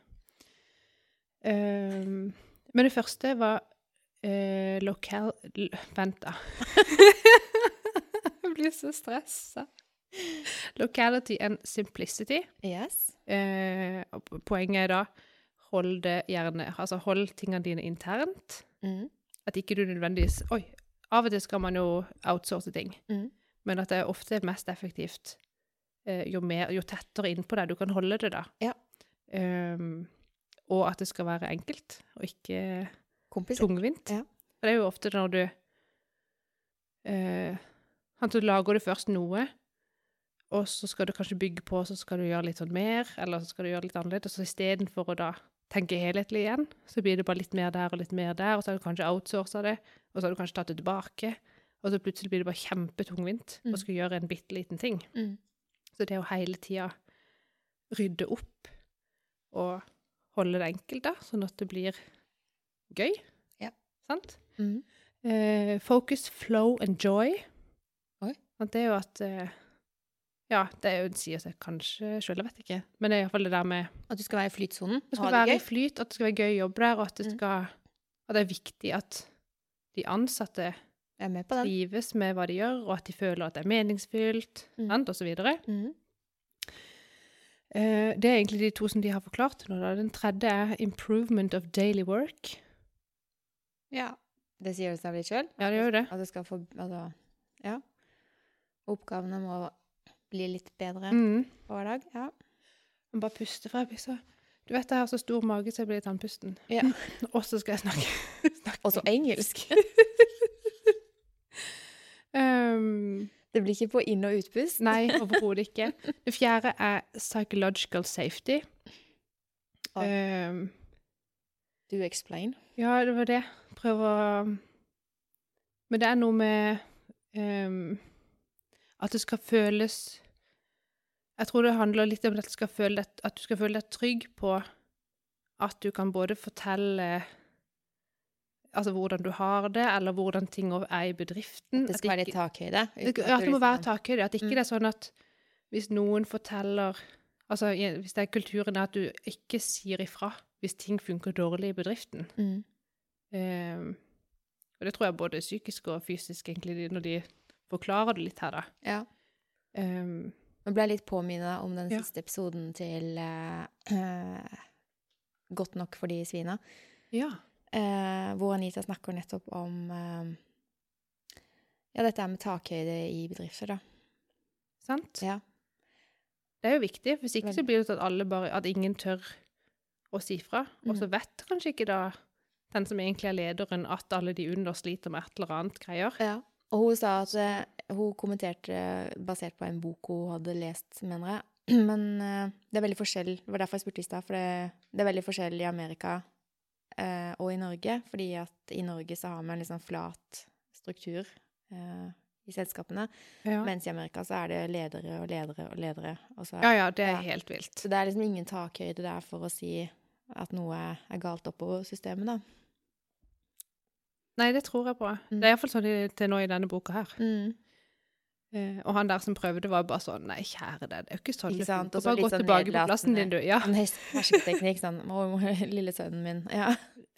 Ehm, men det første var eh, lokal... L vent, da. jeg blir så stressa. Locality and simplicity.
Yes.
Eh, og po- poenget er da hold det gjerne Altså hold tingene dine internt.
Mm.
At ikke du nødvendigvis Oi, av og til skal man jo outsource ting.
Mm.
Men at det er ofte mest effektivt eh, jo, mer, jo tettere innpå deg du kan holde det, da.
Ja.
Ehm, og at det skal være enkelt, og ikke
Kompis.
tungvint.
Ja.
For det er jo ofte når du eh, at Du lager du først noe, og så skal du kanskje bygge på, så skal du gjøre litt sånn mer, eller så skal du gjøre litt annerledes. Og så istedenfor å da tenke helhetlig igjen, så blir det bare litt mer der og litt mer der, og så har du kanskje outsourca det, og så har du kanskje tatt det tilbake. Og så plutselig blir det bare kjempetungvint
Mm.
å skulle gjøre en bitte liten ting.
Mm.
Så det å hele tida rydde opp og holde det enkelt, da, sånn at det blir gøy.
Ja.
Sant?
Mm.
Eh, focus, flow and joy.
Oi.
Sant, det er jo at eh, Ja, det er jo, det sier seg kanskje sjøl, jeg vet ikke. Men det er iallfall det der med
At du skal være i flytsonen.
Det
ha
skal være
det
i flyt, at det skal være gøy å jobbe der, og at det,
Mm.
skal, at det er viktig at de ansatte
Jeg er med på den.
trives med hva de gjør, og at de føler at det er meningsfylt,
Mm.
sant, og så videre.
Mm.
Eh, det er egentlig de to som de har forklart nå. Da. Den tredje er 'improvement of daily work'.
Ja. Det sier det seg litt sjøl.
Ja, det gjør jo det.
At det skal få Altså, ja. Oppgavene må bli litt bedre
Mm.
på hver dag. Ja.
Jeg må bare puste, for jeg blir så Du vet jeg har så stor mage, så jeg blir tannpusten.
Ja.
Og så skal jeg snakke. snakke.
Også engelsk.
Ehm,
Det blir ikke på inn- og utpust.
nei, overhodet ikke. Det fjerde er 'psychological safety'.
Oi.
Ehm,
Du explain.
Ja, det var det. Prøv å um, Men det er noe med ehm, at det skal føles Jeg tror det handler litt om at, det skal føle deg, at du skal føle deg trygg på at du kan både fortelle Altså hvordan du har det, eller hvordan ting er i bedriften.
Det skal være
at
litt takhøyde.
det,
uten
ikke-
at
ja,
du
at det må
liksom-
være takhøyde. At ikke
Mm.
det er sånn at hvis noen forteller Altså i- hvis det er kulturen er at du ikke sier ifra hvis ting funker dårlig i bedriften.
Mm.
Ehm, og det tror jeg både psykisk og fysisk, egentlig, de- når de forklarer det litt her, da.
Ja.
Ehm,
Nå ble jeg litt påminnet om den
Ja.
siste episoden til eh, Godt nok for de svina,
ja.
eh, hvor Anita snakker nettopp om eh, ja, dette er med takhøyde i bedrifter, da.
Sant?
Ja.
Det er jo viktig, hvis ikke
Veldig.
så blir det sånn at alle bare At ingen tør å si fra. Og
Mhm.
så vet kanskje ikke da den som egentlig er lederen, at alle de under sliter med et eller annet greier.
Ja. Og hun sa at eh, hun kommenterte basert på en bok hun hadde lest, mener jeg. Men eh, det er veldig forskjell Det var derfor jeg spurte i stad, for det, det er veldig forskjell i Amerika eh, og i Norge. Fordi at i Norge så har man en litt sånn flat struktur eh, i selskapene.
Ja.
Mens i Amerika så er det ledere og ledere og ledere. Og så,
ja, ja, det er
Ja.
helt vilt.
så det er liksom ingen takhøyde der for å si at noe er galt oppover systemet, da.
Nei, det tror jeg på.
Mm.
Det er iallfall sånn det er til nå i denne boka her.
Mm.
Eh, og han der som prøvde, var bare sånn Nei, kjære deg, det er jo ikke sånn
Ikke
det
sant?
funker.
Og så
Bare
litt
gå
sånn
tilbake på plassen din, du. Ja,
Sånn hers- hersketeknikk, sånn «Å, Lille sønnen min. Ja.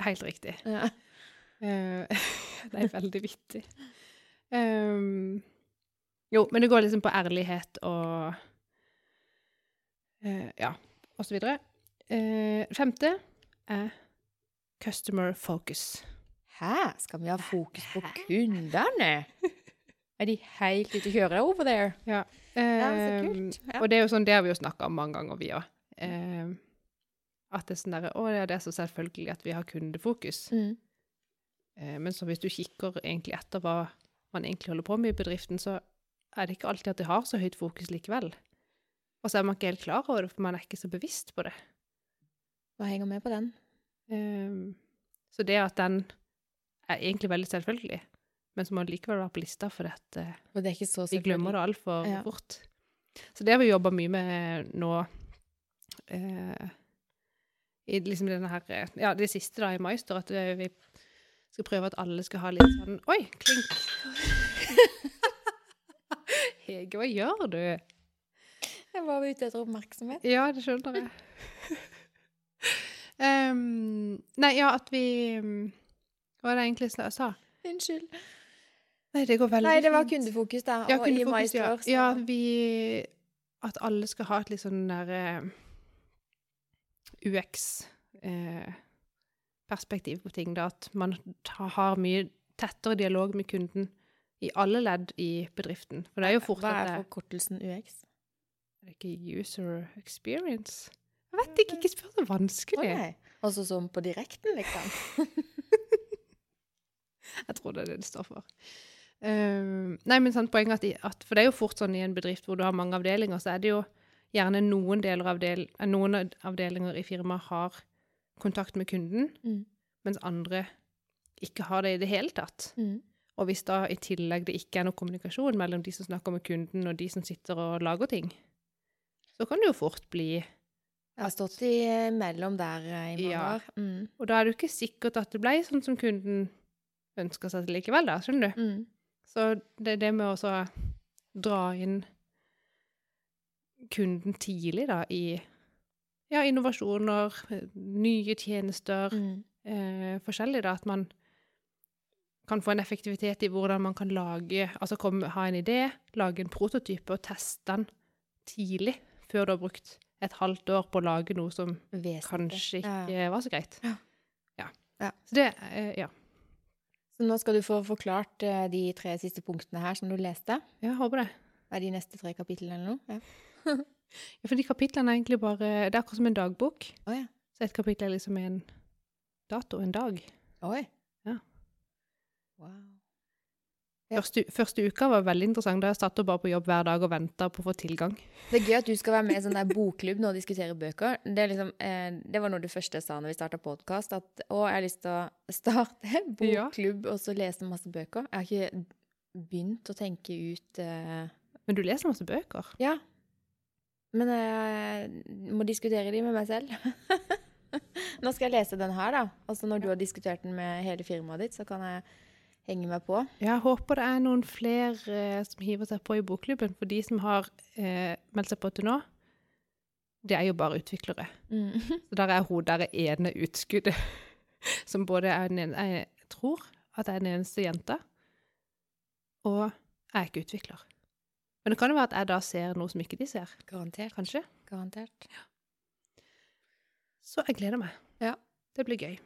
helt riktig.
ja.
Eh, det er veldig vittig. Ehm, jo, men det går liksom på ærlighet og eh, Ja, og så videre. Eh, femte er customer focus.
Hæ? Skal vi ha fokus på kundene? Er de helt ute å kjøre over there? Ja, så kult.
Ehm,
Ja.
Og det er jo sånn, det har vi jo snakka om mange ganger, vi òg. Ehm, at det er sånn derre Å, ja, det er så selvfølgelig at vi har kundefokus.
Mm.
Eh, Men så hvis du kikker egentlig etter hva man egentlig holder på med i bedriften, så er det ikke alltid at det har så høyt fokus likevel. Og så er man ikke helt klar over det, for man er ikke så bevisst på det.
Hva henger med på den?
Eh, Så det at den er egentlig veldig selvfølgelig, men så må den likevel være på lista, for at eh,
For det er ikke så
vi glemmer det altfor
Ja.
fort. Så det har vi jobba mye med nå eh, i liksom denne her, eh, ja, det siste da i Meister, at eh, vi skal prøve at alle skal ha litt sånn Oi, klink! Hege, hva gjør du?
Jeg var ute etter oppmerksomhet.
Ja, det skjønner jeg. Em, nei, ja, at vi mm, Hva var det jeg egentlig jeg sa?
Unnskyld.
Nei, det går veldig
Nei, det var
fint.
kundefokus, da.
Ja,
og i
kundefokus,
mai
ja.
står så-
ja, vi At alle skal ha et litt sånn der eh, UX eh, perspektiv på ting. Da, at man ta, har mye tettere dialog med kunden i alle ledd i bedriften. For det er jo fort
Hva
at
er
det
forkortelsen UX?
er det ikke user experience. Jeg vet ikke, ikke spør så
Å
vanskelig.
nei. Altså som på direkten, liksom.
Jeg tror det er det det står for. Ehm, nei, men sant, poenget er at, i- at For det er jo fort sånn i en bedrift hvor du har mange avdelinger, så er det jo gjerne noen, deler av del, eh, noen av- avdelinger i firmaet har kontakt med kunden,
Mm.
mens andre ikke har det i det hele tatt.
Mm.
Og hvis da i tillegg det ikke er noe kommunikasjon mellom de som snakker med kunden, og de som sitter og lager ting, så kan det jo fort bli
Jeg har stått imellom der eh, i mange
Ja.
år. Mm.
Og da er det jo ikke sikkert at det ble sånn som kunden ønsker seg likevel, da, skjønner du?
Mm.
Så det, det med å så dra inn kunden tidlig da, i ja, innovasjoner, nye tjenester,
Mm.
eh, forskjellig, da, at man kan få en effektivitet i hvordan man kan lage, altså komme, ha en idé, lage en prototype og teste den tidlig, før du har brukt et halvt år på å lage noe som
Vesentlig.
kanskje
Ja, ja.
ikke var så greit.
Ja.
Ja.
Ja.
Så det, eh, ja.
Så nå skal du få forklart eh, de tre siste punktene her som du leste.
Jeg håper det.
Hva er de neste tre kapitlene eller noe? Ja.
Ja, for de kapitlene er egentlig bare Det er akkurat som en dagbok.
Å ja.
Så et kapittel er liksom en dato, en dag.
Oi.
Ja.
Wow. Ja.
Første, første uka var veldig interessant. Da jeg satt og bare på jobb hver dag og venta på å få tilgang.
Det er gøy at du skal være med i sånn der bokklubb når og diskutere bøker. Det, er liksom, eh, det var noe av det første jeg sa når vi starta podkast, at å, jeg har lyst til å starte en
Ja.
bokklubb og så lese masse bøker. Jeg har ikke begynt å tenke ut eh,
Men du leser masse bøker.
Ja. Men jeg må diskutere de med meg selv. Nå skal jeg lese den her, da. Og så når du har diskutert den med hele firmaet ditt, så kan jeg henge meg på.
Jeg håper det er noen flere eh, som hiver seg på i bokklubben. For de som har eh, meldt seg på til nå, det er jo bare utviklere.
Mm.
Så der er hun der ene utskuddet som både er den ene Jeg tror at jeg er den eneste jenta, og jeg er ikke utvikler. Men det kan jo være at jeg da ser noe som ikke de ser.
Garantert.
Kanskje.
Garantert.
Så jeg gleder meg.
Ja. Mm.
Det blir gøy.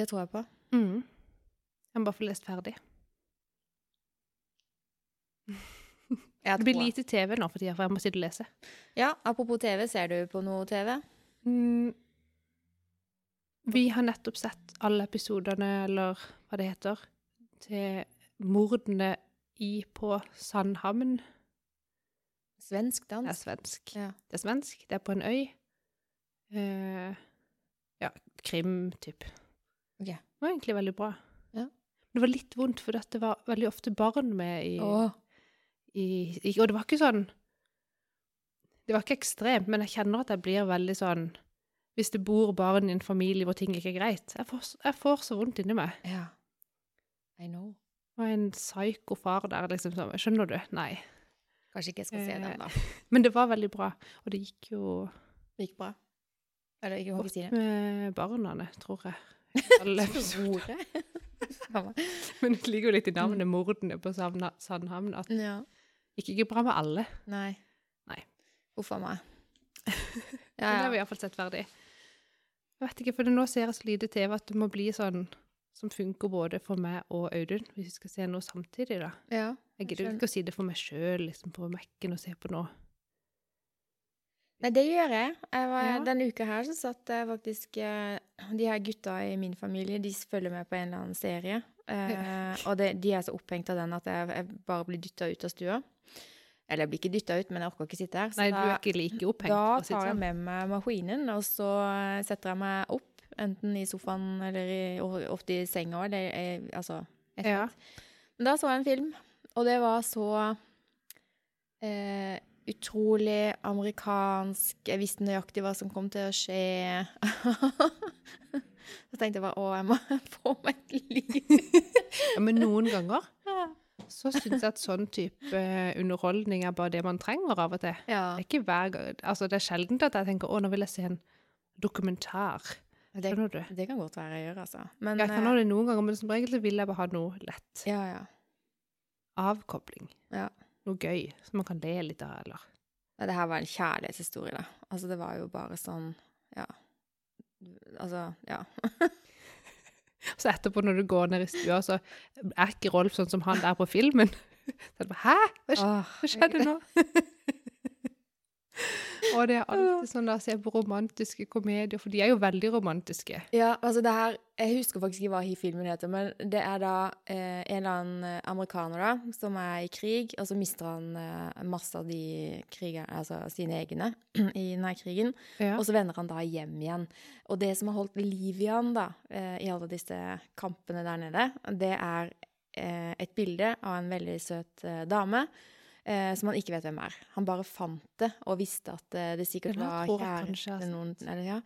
Det tror jeg på.
Jeg må bare få lest ferdig. Det
Jeg tror
blir
jeg.
lite TV nå for tida, for jeg må sitte og lese.
Ja, apropos TV, ser du på noe TV? Mm.
Vi har nettopp sett alle episodene, eller hva det heter, til mordene i på Sandhamn.
Svensk
Det er
dans?
svensk.
Ja.
Det er svensk, det er på en øy. Eh, ja, krim, typ.
Ok.
Det var egentlig veldig bra.
Ja.
Det var litt vondt, for det var veldig ofte barn med i
Åh,
i, i Og det var ikke sånn Det var ikke ekstremt, men jeg kjenner at jeg blir veldig sånn Hvis det bor barn i en familie hvor ting ikke er greit Jeg får, s- jeg får så vondt inni meg.
ja. I know.
Og en psyko far der, liksom. Sånn, skjønner du? Nei.
Kanskje ikke jeg skal se
Eh.
den, da.
Men det var veldig bra. Og det gikk jo
Det gikk bra. Eller ikke, jeg må ikke si det.
med barna, tror jeg. Alle episoder.
Ordet? Faen meg.
Men det ligger jo litt i navnet, mordene på Savna- Sandhamn. At
ja.
det gikk ikke bra med alle.
Nei.
Nei.
Huff a meg.
Men det har vi iallfall sett ferdig. Jeg vet ikke, for det nå ser jeg så lite TV at det må bli sånn som funker både for meg og Audun, hvis vi skal se noe samtidig, da.
ja.
Jeg gidder jo ikke å si det for meg sjøl, liksom, på Mac-en og se på noe.
Nei, det gjør jeg. jeg var,
Ja.
Denne uka her så satt jeg faktisk eh, De her gutta i min familie, de følger med på en eller annen serie. Eh, og det, de er så opphengt av den at jeg, jeg bare blir dytta ut av stua. Eller jeg blir ikke dytta ut, men jeg orker ikke sitte her. Så
Nei, du er
da,
ikke like opphengt. for
da
å si det
tar jeg
sånn.
med meg maskinen, og så eh, setter jeg meg opp. Enten i sofaen eller i, og ofte i senga. Eller, eh, altså, et
Ja.
men da så jeg en film, og det var så eh, utrolig amerikansk. Jeg visste nøyaktig hva som kom til å skje. så tenkte jeg bare å, jeg må få meg et liv.
ja, men noen ganger så syns jeg at sånn type underholdning er bare det man trenger av og til.
ja.
Det er ikke hver gang, altså det er sjelden at jeg tenker 'Å, nå vil jeg se en dokumentar'.
Det,
Skjønner du?
det kan godt være jeg gjør, altså. Men
Jeg kan ha
eh,
det noen ganger, men som regel så vil jeg bare ha noe lett.
ja, ja.
avkobling.
Ja.
Noe gøy som man kan le litt av, eller
Nei, Det her var en kjærlighetshistorie, da. Altså, det var jo bare sånn Ja. Altså, ja.
Og så etterpå, når du går ned i stua, så er ikke Rolf sånn som han der på filmen. Så er det bare, Hæ? Hva, sk
Åh,
hva skjedde nå? Og det er alltid sånn da, å se på romantiske komedier, for de er jo veldig romantiske.
Ja, altså det her Jeg husker faktisk ikke hva hi- filmen heter, men det er da eh, en eller annen eh, amerikaner da, som er i krig, og så mister han eh, masse av de krigerne, altså sine egne, i denne krigen.
Ja.
Og så vender han da hjem igjen. Og det som har holdt liv i han da, eh, i alle disse kampene der nede, det er eh, et bilde av en veldig søt eh, dame eh, som han ikke vet hvem er. Han bare fant det og visste at eh, det sikkert
Den her
var
tror jeg kanskje jeg har
kjæresten noen eller, ja.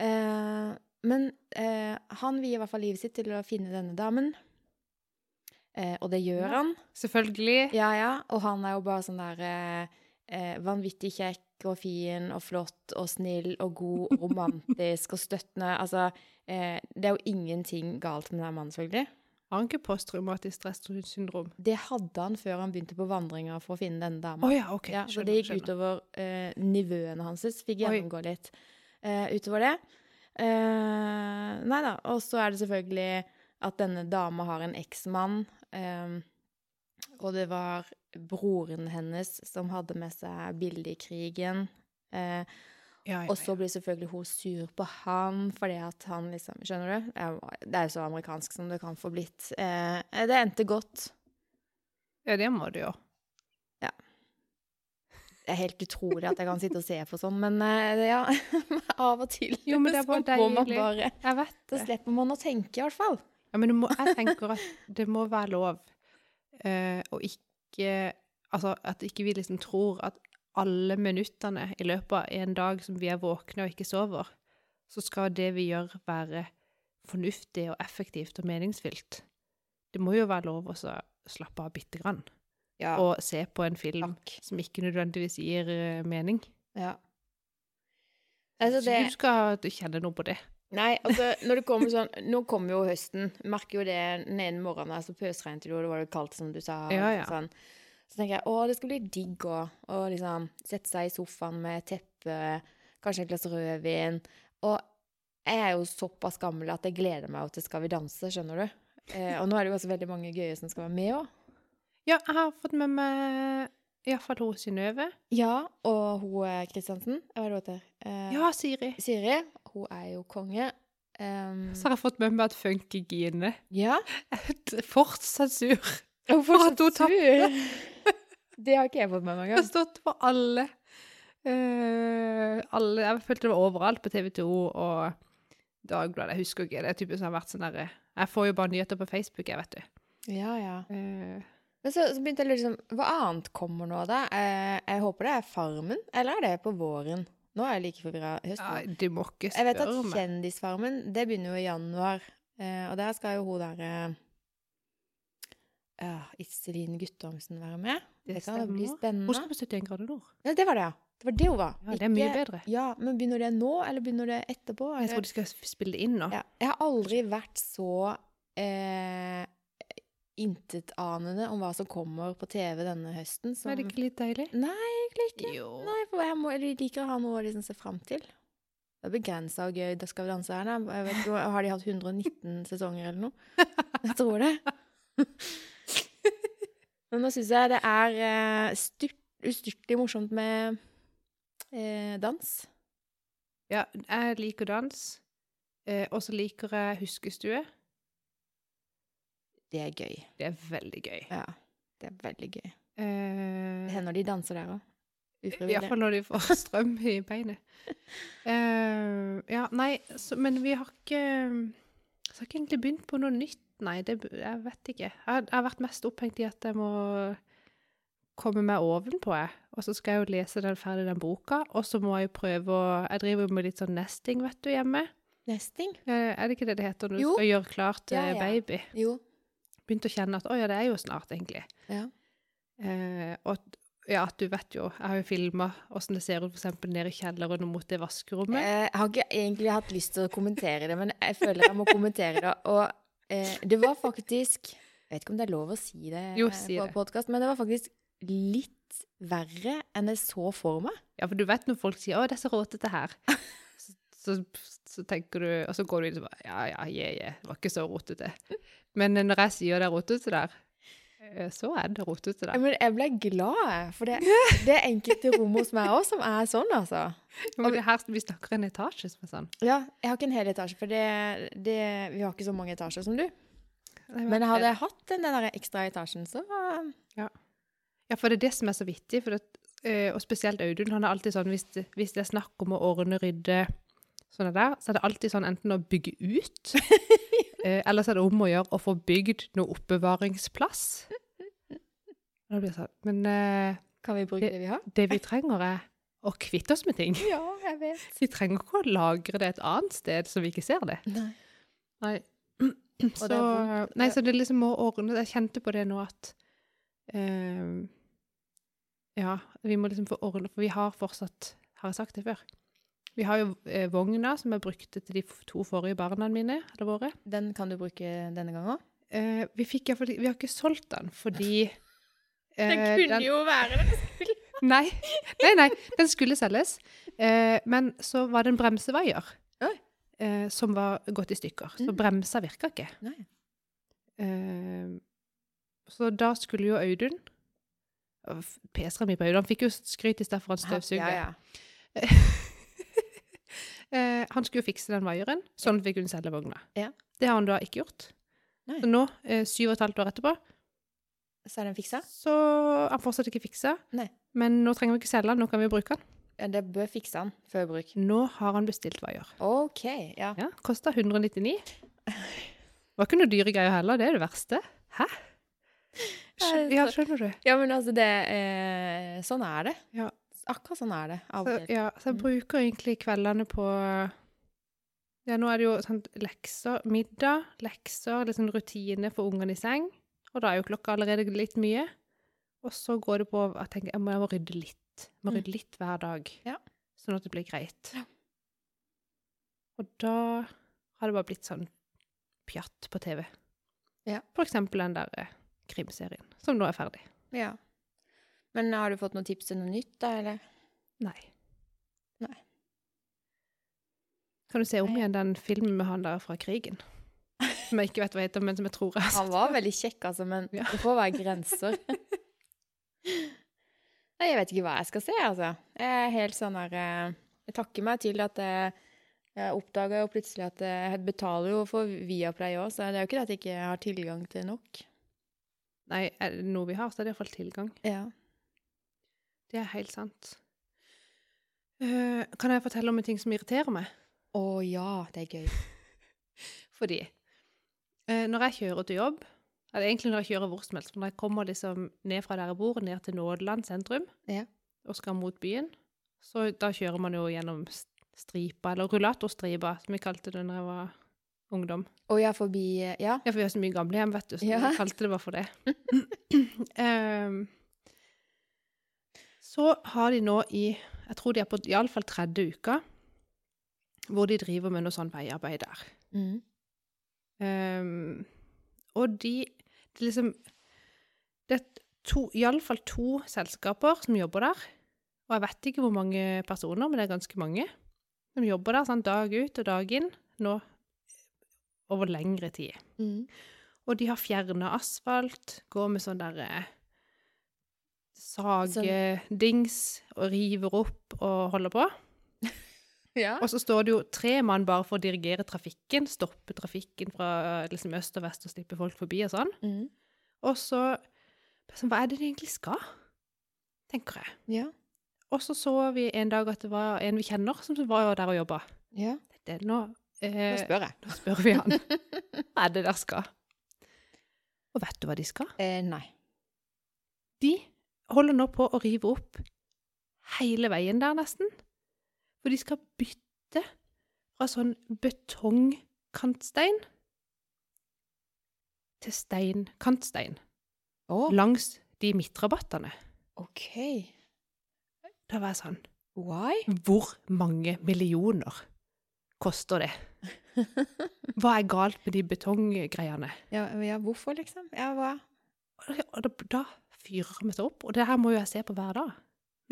eh, Men eh, han vier i hvert fall livet sitt til å finne denne damen. Eh, og det gjør
Ja.
han.
Selvfølgelig.
Ja, ja. Og han er jo bare sånn der eh, eh, vanvittig kjekk og fin og flott og snill og god og romantisk og støttende. Altså, eh, det er jo ingenting galt med den mannen, selvfølgelig.
Har han ikke posttraumatisk stressyndrom?
Det hadde han før han begynte på vandringa for å finne denne dama.
Å ja, OK.
Ja, så det gikk utover eh, nivåene hans. Fikk
Oi.
gjennomgå litt eh, utover det. Eh, nei da. Og så er det selvfølgelig at denne dama har en eksmann. Eh, og det var broren hennes som hadde med seg bildet i krigen. Eh,
Ja, ja,
og så blir selvfølgelig hun sur på han fordi at han liksom Skjønner du? Det er- Det er jo så amerikansk som det kan få blitt. Eh, det endte godt.
ja. ja, det må du jo.
Det er helt utrolig at jeg kan sitte og se på sånn, men eh, det- ja, av og til
Jo, men det er
så
bare
må man
deilig.
bare
Jeg vet
Da
det.
slipper man å tenke, i hvert fall.
Ja, men du må, jeg tenker at det må være lov eh, å ikke Altså at ikke vi liksom tror at alle minuttene i løpet av en dag som vi er våkne og ikke sover, så skal det vi gjør, være fornuftig og effektivt og meningsfylt. Det må jo være lov å så slappe av bitte grann
Ja.
og se på en film
Takk.
som ikke nødvendigvis gir eh, mening.
Ja. Altså
Så
det,
Du skal kjenne noe på det.
nei, altså når det kommer sånn Nå kommer jo høsten. Merker jo det den ene morgenen her, så pøsregnet det jo, og det var jo kaldt, som du sa. og
Ja, ja.
Sånn. Så tenker jeg å, det skal bli digg å å liksom sette seg i sofaen med teppe, kanskje et glass rødvin. Og jeg er jo såpass gammel at jeg gleder meg jo til Skal vi danse, skjønner du. Eh, og nå er det jo også veldig mange gøye som skal være med òg.
Ja, jeg har fått med meg iallfall hun Synnøve.
Ja, og hun eh, Kristiansen, hva er det hun heter? Eh,
Ja, Siri.
Siri, hun er jo konge. Ehm,
Så har jeg fått med meg at Funkygine
ja.
er fortsatt sur.
Hun
For at hun
Det har ikke jeg fått med meg
Det har
engang.
stått på alle. eh, alle Jeg følte det var overalt på TV 2 og Dagbladet. Jeg husker ikke. Det er typisk som har vært sånn derre Jeg får jo bare nyheter på Facebook, jeg, vet du.
Ja, ja.
Eh,
Men så, så begynte jeg å lure liksom, hva annet kommer nå, da? Eh, jeg håper det er Farmen, eller er det på våren? Nå er jeg like forvirra.
nei,
Høsten.
du må ikke
Jeg vet at
spørre meg.
Kjendisfarmen, det begynner jo i januar. Eh, og der skal jo hun der eh, ja, Iselin Guttormsen være med. Det,
Det
kan jo bli
stemmer. Hun
spennende.
skal på 71 grader nord.
Ja, det var det, ja. Det var det hun var.
Ja, det er mye
Ikke-
bedre. Ah,
Ja, men begynner det nå, eller begynner det etterpå?
Jeg
eller?
tror de skal spille det inn nå.
Ja. Jeg har aldri vært så eh, intetanende om hva som kommer på TV denne høsten. Som...
Er det ikke litt deilig?
Nei, egentlig ikke.
Jo.
Nei, for jeg, må, jeg liker å ha noe å liksom se fram til. Det er begrensa og gøy det skal vi danse her. da. Jeg vet, ikke, har de hatt 119 sesonger eller noe? Jeg tror det. Men nå syns jeg det er eh, styrt- ustyrtelig morsomt med eh, dans.
Ja, jeg liker dans. Eh, og så liker jeg huskestue.
Det er gøy.
Det er veldig gøy.
Ja, det er veldig gøy. Det
Eh,
hender de danser der òg. Ufrivillig.
Iallfall når de får strøm i beinet. Eh, ja, nei, så, men vi har ikke Så har ikke egentlig begynt på noe nytt, nei. Det, b- jeg vet ikke. Jeg, har- jeg har vært mest opphengt i at jeg må komme meg ovenpå, jeg. Og så skal jeg jo lese den ferdig den boka, og så må jeg jo prøve å Jeg driver jo med litt sånn nesting, vet du, hjemme.
Nesting?
Eh, er det ikke det det heter når du
Jo.
skal gjøre klart
Ja,
eh,
ja.
baby?
Jo.
begynte å kjenne at å ja, det er jo snart, egentlig.
Ja.
Eh, og at- ja, at du vet jo, jeg har jo filma åssen det ser ut f.eks. nede i kjelleren og mot det vaskerommet.
Eh, Jeg har ikke egentlig hatt lyst til å kommentere det, men jeg føler jeg må kommentere det. Og eh, det var faktisk Jeg vet ikke om det er lov å si det
Jo,
eh,
si
på
det.
podkast, men det var faktisk litt verre enn jeg så for meg.
Ja, for du vet når folk sier 'å, det er så råtete her'. Så, så, så tenker du, og så går du inn og så bare Ja, ja, je, je. Det var ikke så rotete. Men eh, når jeg sier det er rotete der, eh, så er det rotete
Ja,
der.
Men jeg ble glad, jeg, for det, det er enkelte rom hos meg òg som er sånn, altså.
Men det her, vi snakker en etasje som er sånn.
Ja, jeg har ikke en hel etasje, for det, det, vi har ikke så mange etasjer som du.
Nei,
Men hadde jeg hatt den der ekstra etasjen, så
Ja, for det er det som er så vittig. For det, eh, og spesielt Audun. Han er alltid sånn hvis det, hvis det er snakk om å ordne, rydde sånn det der, så er det alltid sånn enten å bygge ut, eh, eller så er det om å gjøre å få bygd noe oppbevaringsplass. Og Da blir det sånn. Men eh,
kan vi bruke det vi har.
det vi trenger, er å kvitte oss med ting.
Ja, jeg vet.
Vi trenger ikke å lagre det et annet sted så vi ikke ser det.
Nei.
Nei. Så,
det er vondt.
nei, så det liksom må ordne Jeg kjente på det nå at eh, Ja, vi må liksom få ordne For vi har fortsatt Har jeg sagt det før? Vi har jo eh, vogna som jeg brukte til de f- to forrige barna mine, eller våre.
Den kan du bruke denne gangen òg.
Eh, vi, fikk, i hvert fall- vi har ikke solgt den fordi eh, den-
jo være det.
Nei, nei, nei, den skulle selges. Eh, men så var det en bremsevaier
Oi.
eh, som var gått i stykker. Så
Mm.
bremsa virka ikke.
Nei.
Eh, så da skulle jo Audun Å, f- Peseren min på Audun, han fikk jo skryt i sted for han støvsugde.
Ja, ja.
Eh, han skulle jo fikse den vaieren, sånn at vi kunne selge vogna.
Ja.
Det har han da ikke gjort.
Nei.
Så nå, eh, syv og et halvt år etterpå,
Så er den fiksa?
så har han fortsatt ikke fiksa.
Nei.
Men nå trenger vi ikke selge den, nå kan vi bruke den.
Ja, det bør fikse den før bruk.
Nå har han bestilt vaier.
OK, ja.
Ja, kosta 199. Var ikke noe dyre greier heller, det er det verste. Hæ? Skjø-
Nei,
Ja,
så-
skjønner du.
Ja, men altså, det eh, Sånn er det.
Ja.
Akkurat sånn er det. Av
Så,
og til.
ja, så jeg
Mm.
bruker egentlig kveldene på Ja, nå er det jo sånn lekser, middag, lekser, litt sånn rutine for ungene i seng. Og da er jo klokka allerede litt mye. Og så går det på at jeg tenker jeg må, jeg må rydde litt. Jeg må
Mm.
rydde litt hver dag.
Ja.
Sånn at det blir greit.
Ja.
Og da har det bare blitt sånn pjatt på TV.
Ja.
For eksempel den der eh, krimserien, som nå er ferdig.
Ja. Men har du fått noen tips til noe nytt, da, eller?
Nei.
Nei.
Kan du se om
Nei.
igjen den filmen med han der fra krigen? Som jeg ikke vet hva heter, men som jeg tror jeg har
Han
sett.
var veldig kjekk, altså, men
Ja.
det får være grenser. Nei, jeg vet ikke hva jeg skal se, altså. Jeg er helt sånn der eh, Jeg takker meg til at jeg, jeg oppdaga jo plutselig at eh, jeg betaler jo for Viaplay òg, så det er jo ikke det at jeg ikke har tilgang til nok.
Nei, er det noe vi har, så er det iallfall tilgang.
Ja.
Det er helt sant. Eh, kan jeg fortelle om en ting som irriterer meg?
Å ja, det er gøy.
Fordi eh, når jeg kjører til jobb, eller egentlig når jeg kjører hvor som helst, men når jeg kommer liksom ned fra der jeg bor, ned til Nådeland sentrum,
Ja.
og skal mot byen, så da kjører man jo gjennom s- stripa, eller rullatorstripa, som vi kalte det når jeg var ungdom.
Å ja, forbi eh, Ja.
Ja, for vi har så mye gamlehjem, vet du, så
Ja.
vi kalte det bare for det. Ehm, så har de nå i Jeg tror de er på iallfall tredje uka hvor de driver med noe sånn veiarbeid der.
Mm.
Ehm, og de det er liksom Det er to, iallfall to selskaper som jobber der. Og jeg vet ikke hvor mange personer, men det er ganske mange. De jobber der sånn, dag ut og dag inn nå over lengre tid.
Mm.
Og de har fjerna asfalt, går med sånn derre sagedings og river opp og holder på.
Ja.
Og så står det jo tre mann bare for å dirigere trafikken, stoppe trafikken fra liksom, øst og vest og slippe folk forbi og sånn.
Mm.
Og så sånn, Hva er det de egentlig skal? Tenker jeg.
Ja.
Og så så vi en dag at det var en vi kjenner som var der og jobba.
Ja.
Det er nå
Nå
eh,
spør jeg.
Nå spør vi han. Hva er det der skal? Og vet du hva de skal?
Eh, nei.
De holder nå på å rive opp hele veien der, nesten. For de skal bytte fra sånn betongkantstein til steinkantstein
Å,
langs de midtrabattene.
OK.
Da var jeg sånn
Why?
Hvor mange millioner koster det? Hva er galt med de betonggreiene?
Ja, ja, hvorfor, liksom? Ja, hva?
Og da, da fyrer vi seg opp. Og det her må jo jeg se på hver dag.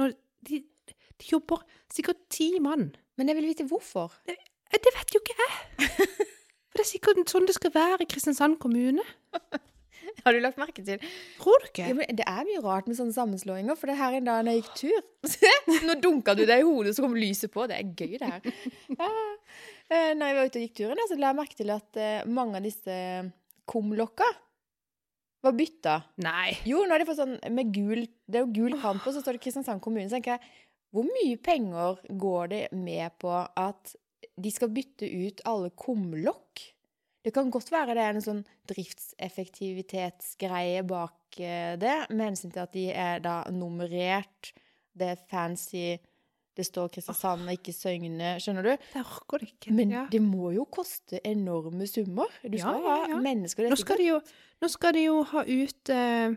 Når de, de jobber sikkert ti mann
Men jeg vil vite hvorfor.
Eh, Det vet jo ikke jeg. For det er sikkert sånn det skal være i Kristiansand kommune.
Har du lagt merke til?
Tror du
Ja,
ikke?
men det er mye rart med sånne sammenslåinger, for det her en dag når jeg gikk tur Se, nå dunka du deg i hodet, så kom lyset på. Det er gøy, det her. Ah. Eh, Når jeg var ute og gikk turen, da, så la jeg merke til at eh, mange av disse kumlokka var bytta.
Nei.
Jo, nå har de fått sånn med gul Det er jo gul kant på, så står det Kristiansand kommune. Så tenker jeg, hvor mye penger går det med på at de skal bytte ut alle kumlokk? Det kan godt være det er en sånn driftseffektivitetsgreie bak eh, det, med hensyn til at de er da nummerert, det er fancy, det står Kristiansand og ikke Søgne, skjønner du?
Det orker det ikke.
Men
Ah. ja.
det må jo koste enorme summer. Du
Ja,
skal
ja, ja.
ha mennesker
Nå skal de jo, nå skal de jo ha ut eh,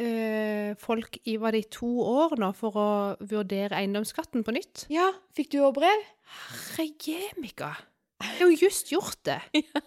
eh, folk i var det i to år nå for å vurdere eiendomsskatten på nytt.
Ja, fikk du òg brev?
Herrejemika! Det er jo just gjort det.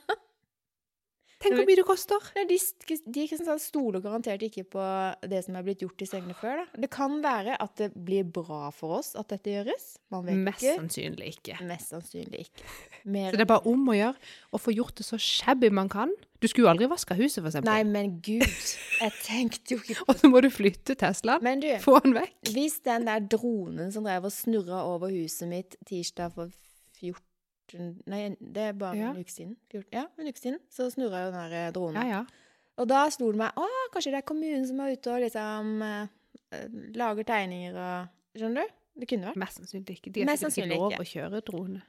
Tenk hvor mye det koster.
Nei, de, de i Kristiansand stoler garantert ikke på det som er blitt gjort i Søgne før. Da. Det kan være at det blir bra for oss at dette gjøres. Man vet
Mest
ikke.
sannsynlig ikke.
Mest sannsynlig ikke.
Så
Mer,
det er bare om å gjøre å få gjort det så shabby man kan. Du skulle jo aldri vaske huset, for
nei,
eksempel.
men gud, jeg tenkte jo ikke
Og så må du flytte Teslaen.
Men du,
Få den vekk.
hvis den der dronen som drev og snurra over huset mitt tirsdag for 14 Nei, det er bare
Ja.
en uke siden. 14, ja, en uke siden. Så snurra jo den der eh, dronen.
Ja, ja.
Og da slo det meg at kanskje det er kommunen som er ute og liksom eh, eh, lager tegninger og Skjønner du? Det kunne vært.
Mest sannsynlig ikke. De har
Mest
sikkert ikke
sannsynlig
lov
ikke.
å kjøre drone.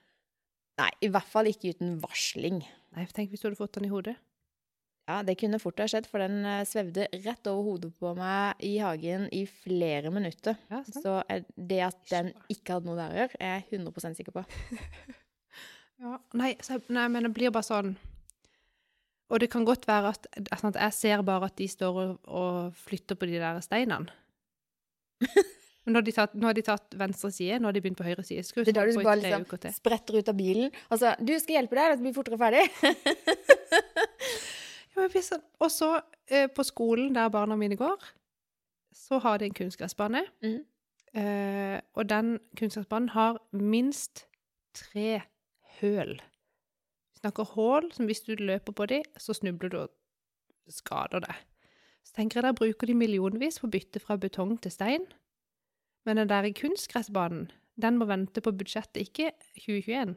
Nei, i hvert fall ikke uten varsling.
Nei, tenk hvis du hadde fått den i hodet.
Ja, Det kunne fort ha skjedd, for den eh, svevde rett over hodet på meg i hagen i flere minutter.
Ja, sant?
Så eh, det at den ikke hadde noe der å gjøre, er jeg 100 sikker på.
Ja, nei, så, nei, men det blir bare sånn Og det kan godt være at, altså at jeg ser bare at de står og, og flytter på de der steinene. Men nå har de tatt, nå har de tatt venstre side, nå har de begynt på høyre side. Skal
Det er da du
stå på i
bare
tre uker
liksom
til.
spretter ut av bilen. Altså, du skal hjelpe deg, dette blir fortere ferdig.
Ja, men hvis han- Og så, eh, på skolen der barna mine går, så har de en kunstgressbane.
Mhm.
Eh, og den kunstgressbanen har minst tre høl. Vi snakker hål som hvis du løper på dem, så snubler du og skader deg. Så tenker jeg der bruker de millionvis på å bytte fra betong til stein. Men den der i kunstgressbanen, den må vente på budsjettet, ikke 2021,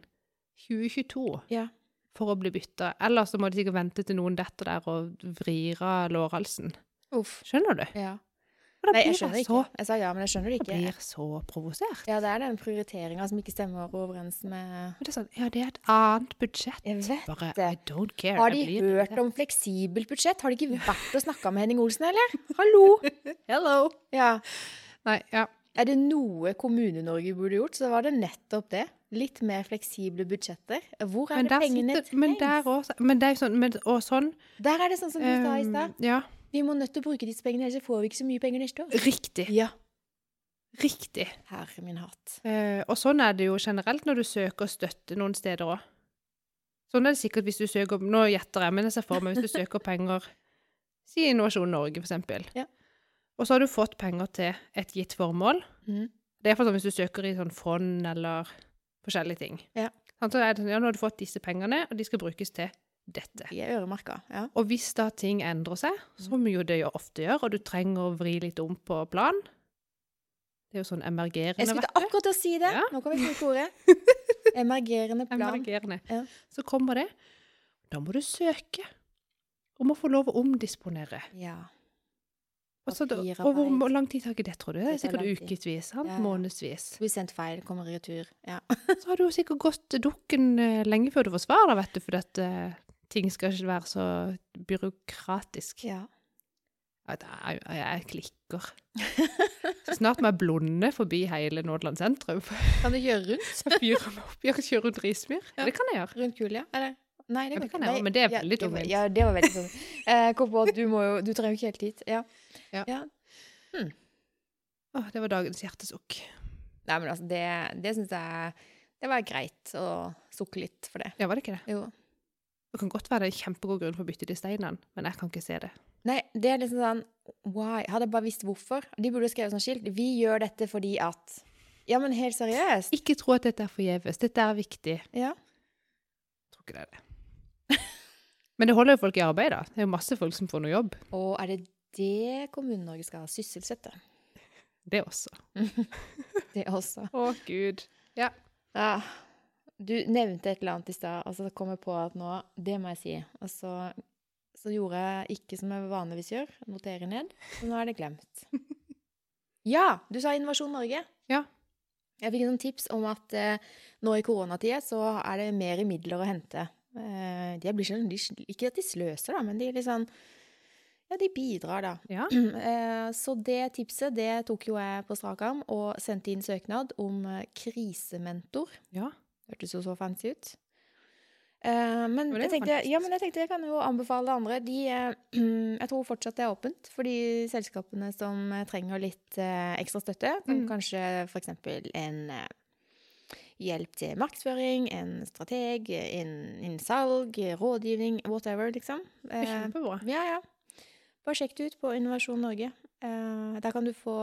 2022
Ja.
for å bli bytta. Eller så må de sikkert vente til noen detter der og vrir av lårhalsen.
Uff.
Skjønner du?
Ja.
Og da
Nei, jeg
blir
skjønner
jeg
ikke.
så,
Jeg sa ja, men jeg skjønner
jeg
det ikke.
blir så provosert.
Ja, det er den prioriteringa som ikke stemmer overens med
Men det er sånn, ja, det er et annet budsjett.
Jeg vet
Bare,
det.
I don't care.
Har de
Jeg blir-
hørt om fleksibelt budsjett? Har de ikke vært og snakka med Henning Olsen, eller? Hallo!
Hello!
Ja.
Nei, ja.
Er det noe Kommune-Norge burde gjort, så var det nettopp det. Litt mer fleksible budsjetter. Hvor er
Men
det
der
pengene
sitter, men der også, men det er jo sånn, men, og sånn.
Der er det sånn som du sa i
ehm,
stad.
ja,
Vi må nødt til å bruke disse pengene, ellers får vi ikke så mye penger neste år.
riktig.
Ja.
Riktig.
Herre min hatt.
Eh, og sånn er det jo generelt når du søker støtte noen steder òg. Sånn er det sikkert hvis du søker Nå gjetter jeg, men jeg ser for meg hvis du søker penger Si Innovasjon Norge, for eksempel.
Ja.
Og så har du fått penger til et gitt formål.
Mhm.
Det er for sånn hvis du søker i sånn fond eller forskjellige ting.
Ja.
Sant, Så er det sånn, ja, nå har du fått disse pengene, og de skal brukes til dette.
De er øremerka. Ja.
Og hvis da ting endrer seg, som jo det jo ofte gjør, og du trenger å vri litt om på plan Det er jo sånn emergerende,
Jeg
vet
skulle
du.
akkurat til å si det.
Ja.
Nå kan vi bruke ordet. Emergerende plan.
emergerende.
Ja.
Så kommer det. Da må du søke om å få lov å omdisponere.
Ja.
Og, så, da-
Papirarbeid.
og hvor hvor lang tid tar ikke det, tror du? Det er
Det tar
sikkert
lang tid.
ukevis, sant?
Ja, ja.
månedsvis.
Blir sendt feil, kommer i retur. Ja.
Så har du jo sikkert gått dukken eh, lenge før du får svar, da, vet du, fordi at eh, ting skal ikke være så byråkratisk.
ja.
At jeg, jeg, jeg klikker. Snart må jeg blonde forbi hele Nådeland sentrum.
Kan du gjøre rundt?
Jeg fyrer meg opp, jeg kjører rundt rismyr.
Ja.
Det kan jeg gjøre.
Rundt kulia, eller? Nei,
Ja,
det, går
det
ikke.
kan jeg
Nei,
også, men det er
ja,
veldig
det var-
tungvint.
Ja, det var veldig tungvint. Eh, kom på, at du må jo Du trenger jo ikke helt dit. Ja.
Ja. Åh, det var dagens hjertesukk.
Nei, men altså, det, det syns jeg Det var greit å sukke litt for det.
Ja, var det ikke det?
Jo.
Det kan godt være det er en kjempegod grunn for å bytte de steinene, men jeg kan ikke se det.
Nei, det er liksom sånn Why? Hadde jeg bare visst hvorfor. De burde jo skrevet sånn skilt. Vi gjør dette fordi at Ja, men helt seriøst.
Ikke tro at dette er forgjeves. Dette er viktig.
Ja.
Jeg tror ikke det er det. Men det holder jo folk i arbeid, da. Det er jo masse folk som får noe jobb.
Og er det det Kommune-Norge skal sysselsette?
Det også.
Det også.
Å, gud.
Ja. Du nevnte et eller annet i stad, og så kom jeg på at nå Det må jeg si. Og så, så gjorde jeg ikke som jeg vanligvis gjør, notere ned. Så nå er det glemt. Ja! Du sa Innovasjon Norge.
Ja.
Jeg fikk noen tips om at eh, nå i koronatida så er det mer midler å hente. Eh, de blir sånn, de, sl- ikke at de sløser, da, men de liksom Ja, de bidrar, da.
Ja.
Eh, Så det tipset det tok jo jeg på strak arm og sendte inn søknad om eh, krisementor.
Ja.
Hørtes jo så fancy ut. Eh,
Men
Men
det er jo
jeg tenkte,
fantastisk.
ja, men jeg tenkte jeg kan jo anbefale andre. De, eh, jeg tror fortsatt det er åpent for de selskapene som eh, trenger litt eh, ekstra støtte. Som
Mm.
kanskje f.eks. en eh, hjelp til markedsføring, en strateg, en, en salg, rådgivning, whatever, liksom.
Det er
Eh,
kjempebra.
ja, ja. Bare sjekk det ut på Innovasjon Norge. Eh, der kan du få,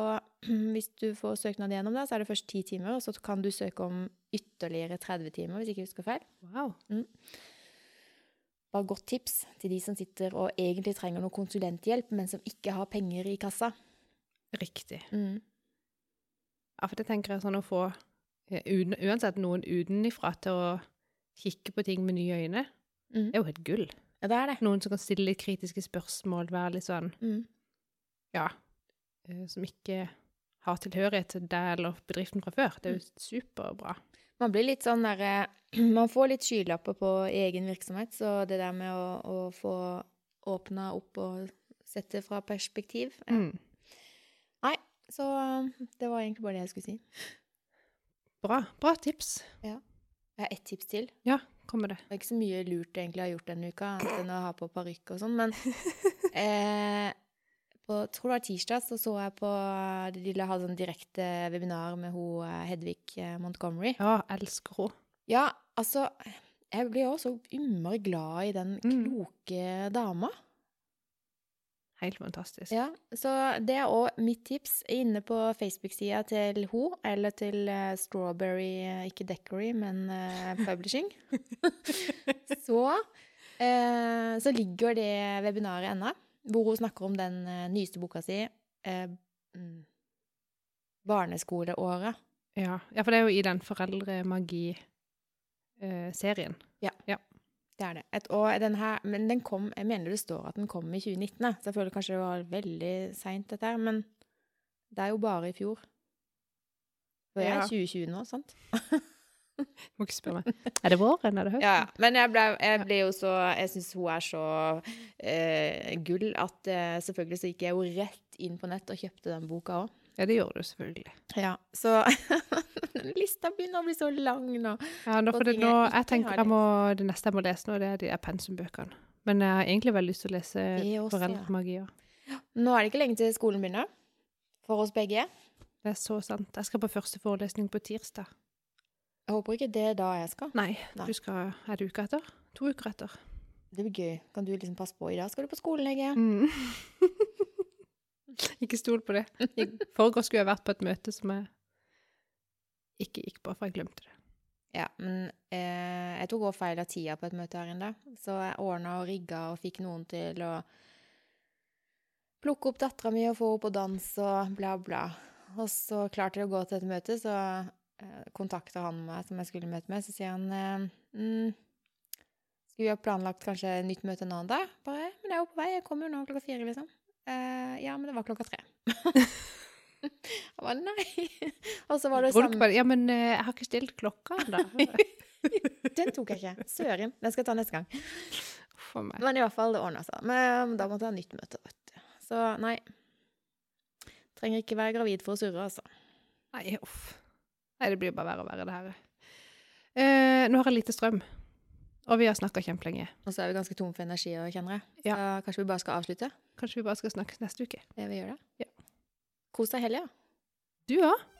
Hvis du får søknad gjennom, da, så er det først ti timer. Og så kan du søke om ytterligere 30 timer, hvis ikke jeg husker feil.
Wow.
Bare godt tips til de som sitter og egentlig trenger noe konsulenthjelp, men som ikke har penger i kassa.
Riktig.
Mm.
Ja, for det tenker jeg sånn å få eh, uden, uansett noen utenifra til å kikke på ting med nye øyne,
Mm.
det er jo helt gull.
Ja, det er det.
Noen som kan stille litt kritiske spørsmål, være litt sånn,
Mm.
ja, eh, som ikke har tilhørighet til deg eller bedriften fra før. Det er
Mm.
jo superbra.
Man blir litt sånn der eh, Man får litt skylapper på egen virksomhet, så det der med å, å få åpna opp og sette fra perspektiv eh,
Mm.
Så eh, det var egentlig bare det jeg skulle si.
Bra, bra tips.
Jeg har ett tips til.
Ja, kommer det.
Det er ikke så mye lurt egentlig jeg har gjort denne uka, annet enn å ha på parykk og sånn, men eh, på, jeg tror det var tirsdag, så så jeg på De hadde sånn direkte webinar med hun eh, Hedvig eh, Montgomery.
Ja, elsker henne.
Ja, altså Jeg blir også så innmari glad i den
Mm.
kloke dama.
Helt fantastisk.
Ja, så det er òg mitt tips inne på Facebook-sida til ho, eller til eh, Strawberry, eh, ikke Decory, men eh, Publishing. så, eh, så ligger det webinaret ennå, hvor hun snakker om den eh, nyeste boka si, eh, mm, Barneskoleåret.
Ja. ja, for det er jo i den eh, foreldremagi-serien.
Det er det. Et, og den her, men den kom, jeg mener det står at den kom i 2019, da, så jeg føler kanskje det var veldig seint, dette her, men det er jo bare i fjor. Så jeg er
Ja.
2020 nå, sant?
Må ikke spørre meg. Er det våren eller høsten?
Ja, ja. men jeg ble, jeg ble jo så Jeg syns hun er så eh, gull at eh, selvfølgelig så gikk jeg jo rett inn på nett og kjøpte den boka òg.
Ja, det gjør du selvfølgelig.
Ja, så den lista begynner å bli så lang nå.
Ja, nå,
på
for det,
ting jeg
nå,
ikke
jeg tenker
har
jeg må, Det neste jeg må lese nå, det er de der pensumbøkene. Men jeg har egentlig veldig lyst til å lese
Det også, ja.
Foreldremagi òg.
Nå er det ikke lenge til skolen begynner. For oss begge.
Det er så sant. Jeg skal på første forelesning på tirsdag.
Jeg håper ikke det er da jeg skal.
Nei,
Nei.
du skal Er det uka etter? To uker etter.
Det blir gøy. Kan du liksom passe på? I dag skal du på skolen, Hege.
Mm. ikke stol på det. I forgårs skulle jeg vært på et møte som jeg ikke gikk på, for jeg glemte det.
Ja, men eh, jeg tok også feil av tida på et møte her inne. Så jeg ordna og rigga og fikk noen til å plukke opp dattera mi og få henne på dans og bla, bla. Og så klarte jeg å gå til et møte, så eh, kontakter han meg som jeg skulle møte med. Så sier han eh, mm, Skulle vi ha planlagt kanskje et nytt møte en annen dag? Bare, men jeg er jo på vei. Jeg kommer jo nå klokka fire, liksom. Eh, ja, men det var klokka tre. Jeg bare nei. Og så var det
Bror du
samme
ikke bare, ja, men eh, jeg har ikke stilt klokka ennå.
Den tok jeg ikke. Søren. Den skal jeg ta neste gang.
For meg.
Men i hvert fall, det ordna seg. Men da måtte jeg ha nytt møte, vet du. Så nei. Trenger ikke være gravid for å surre, altså.
Nei, uff. Nei, det blir bare verre og verre, det her. Eh, nå har jeg lite strøm, og vi har snakka kjempelenge.
Og så er vi ganske tom for energi òg, kjenner jeg. Så kanskje vi bare skal avslutte?
Kanskje vi bare skal snakkes neste uke?
Det vi gjør det.
Ja.
Kos deg i helga.
Du òg?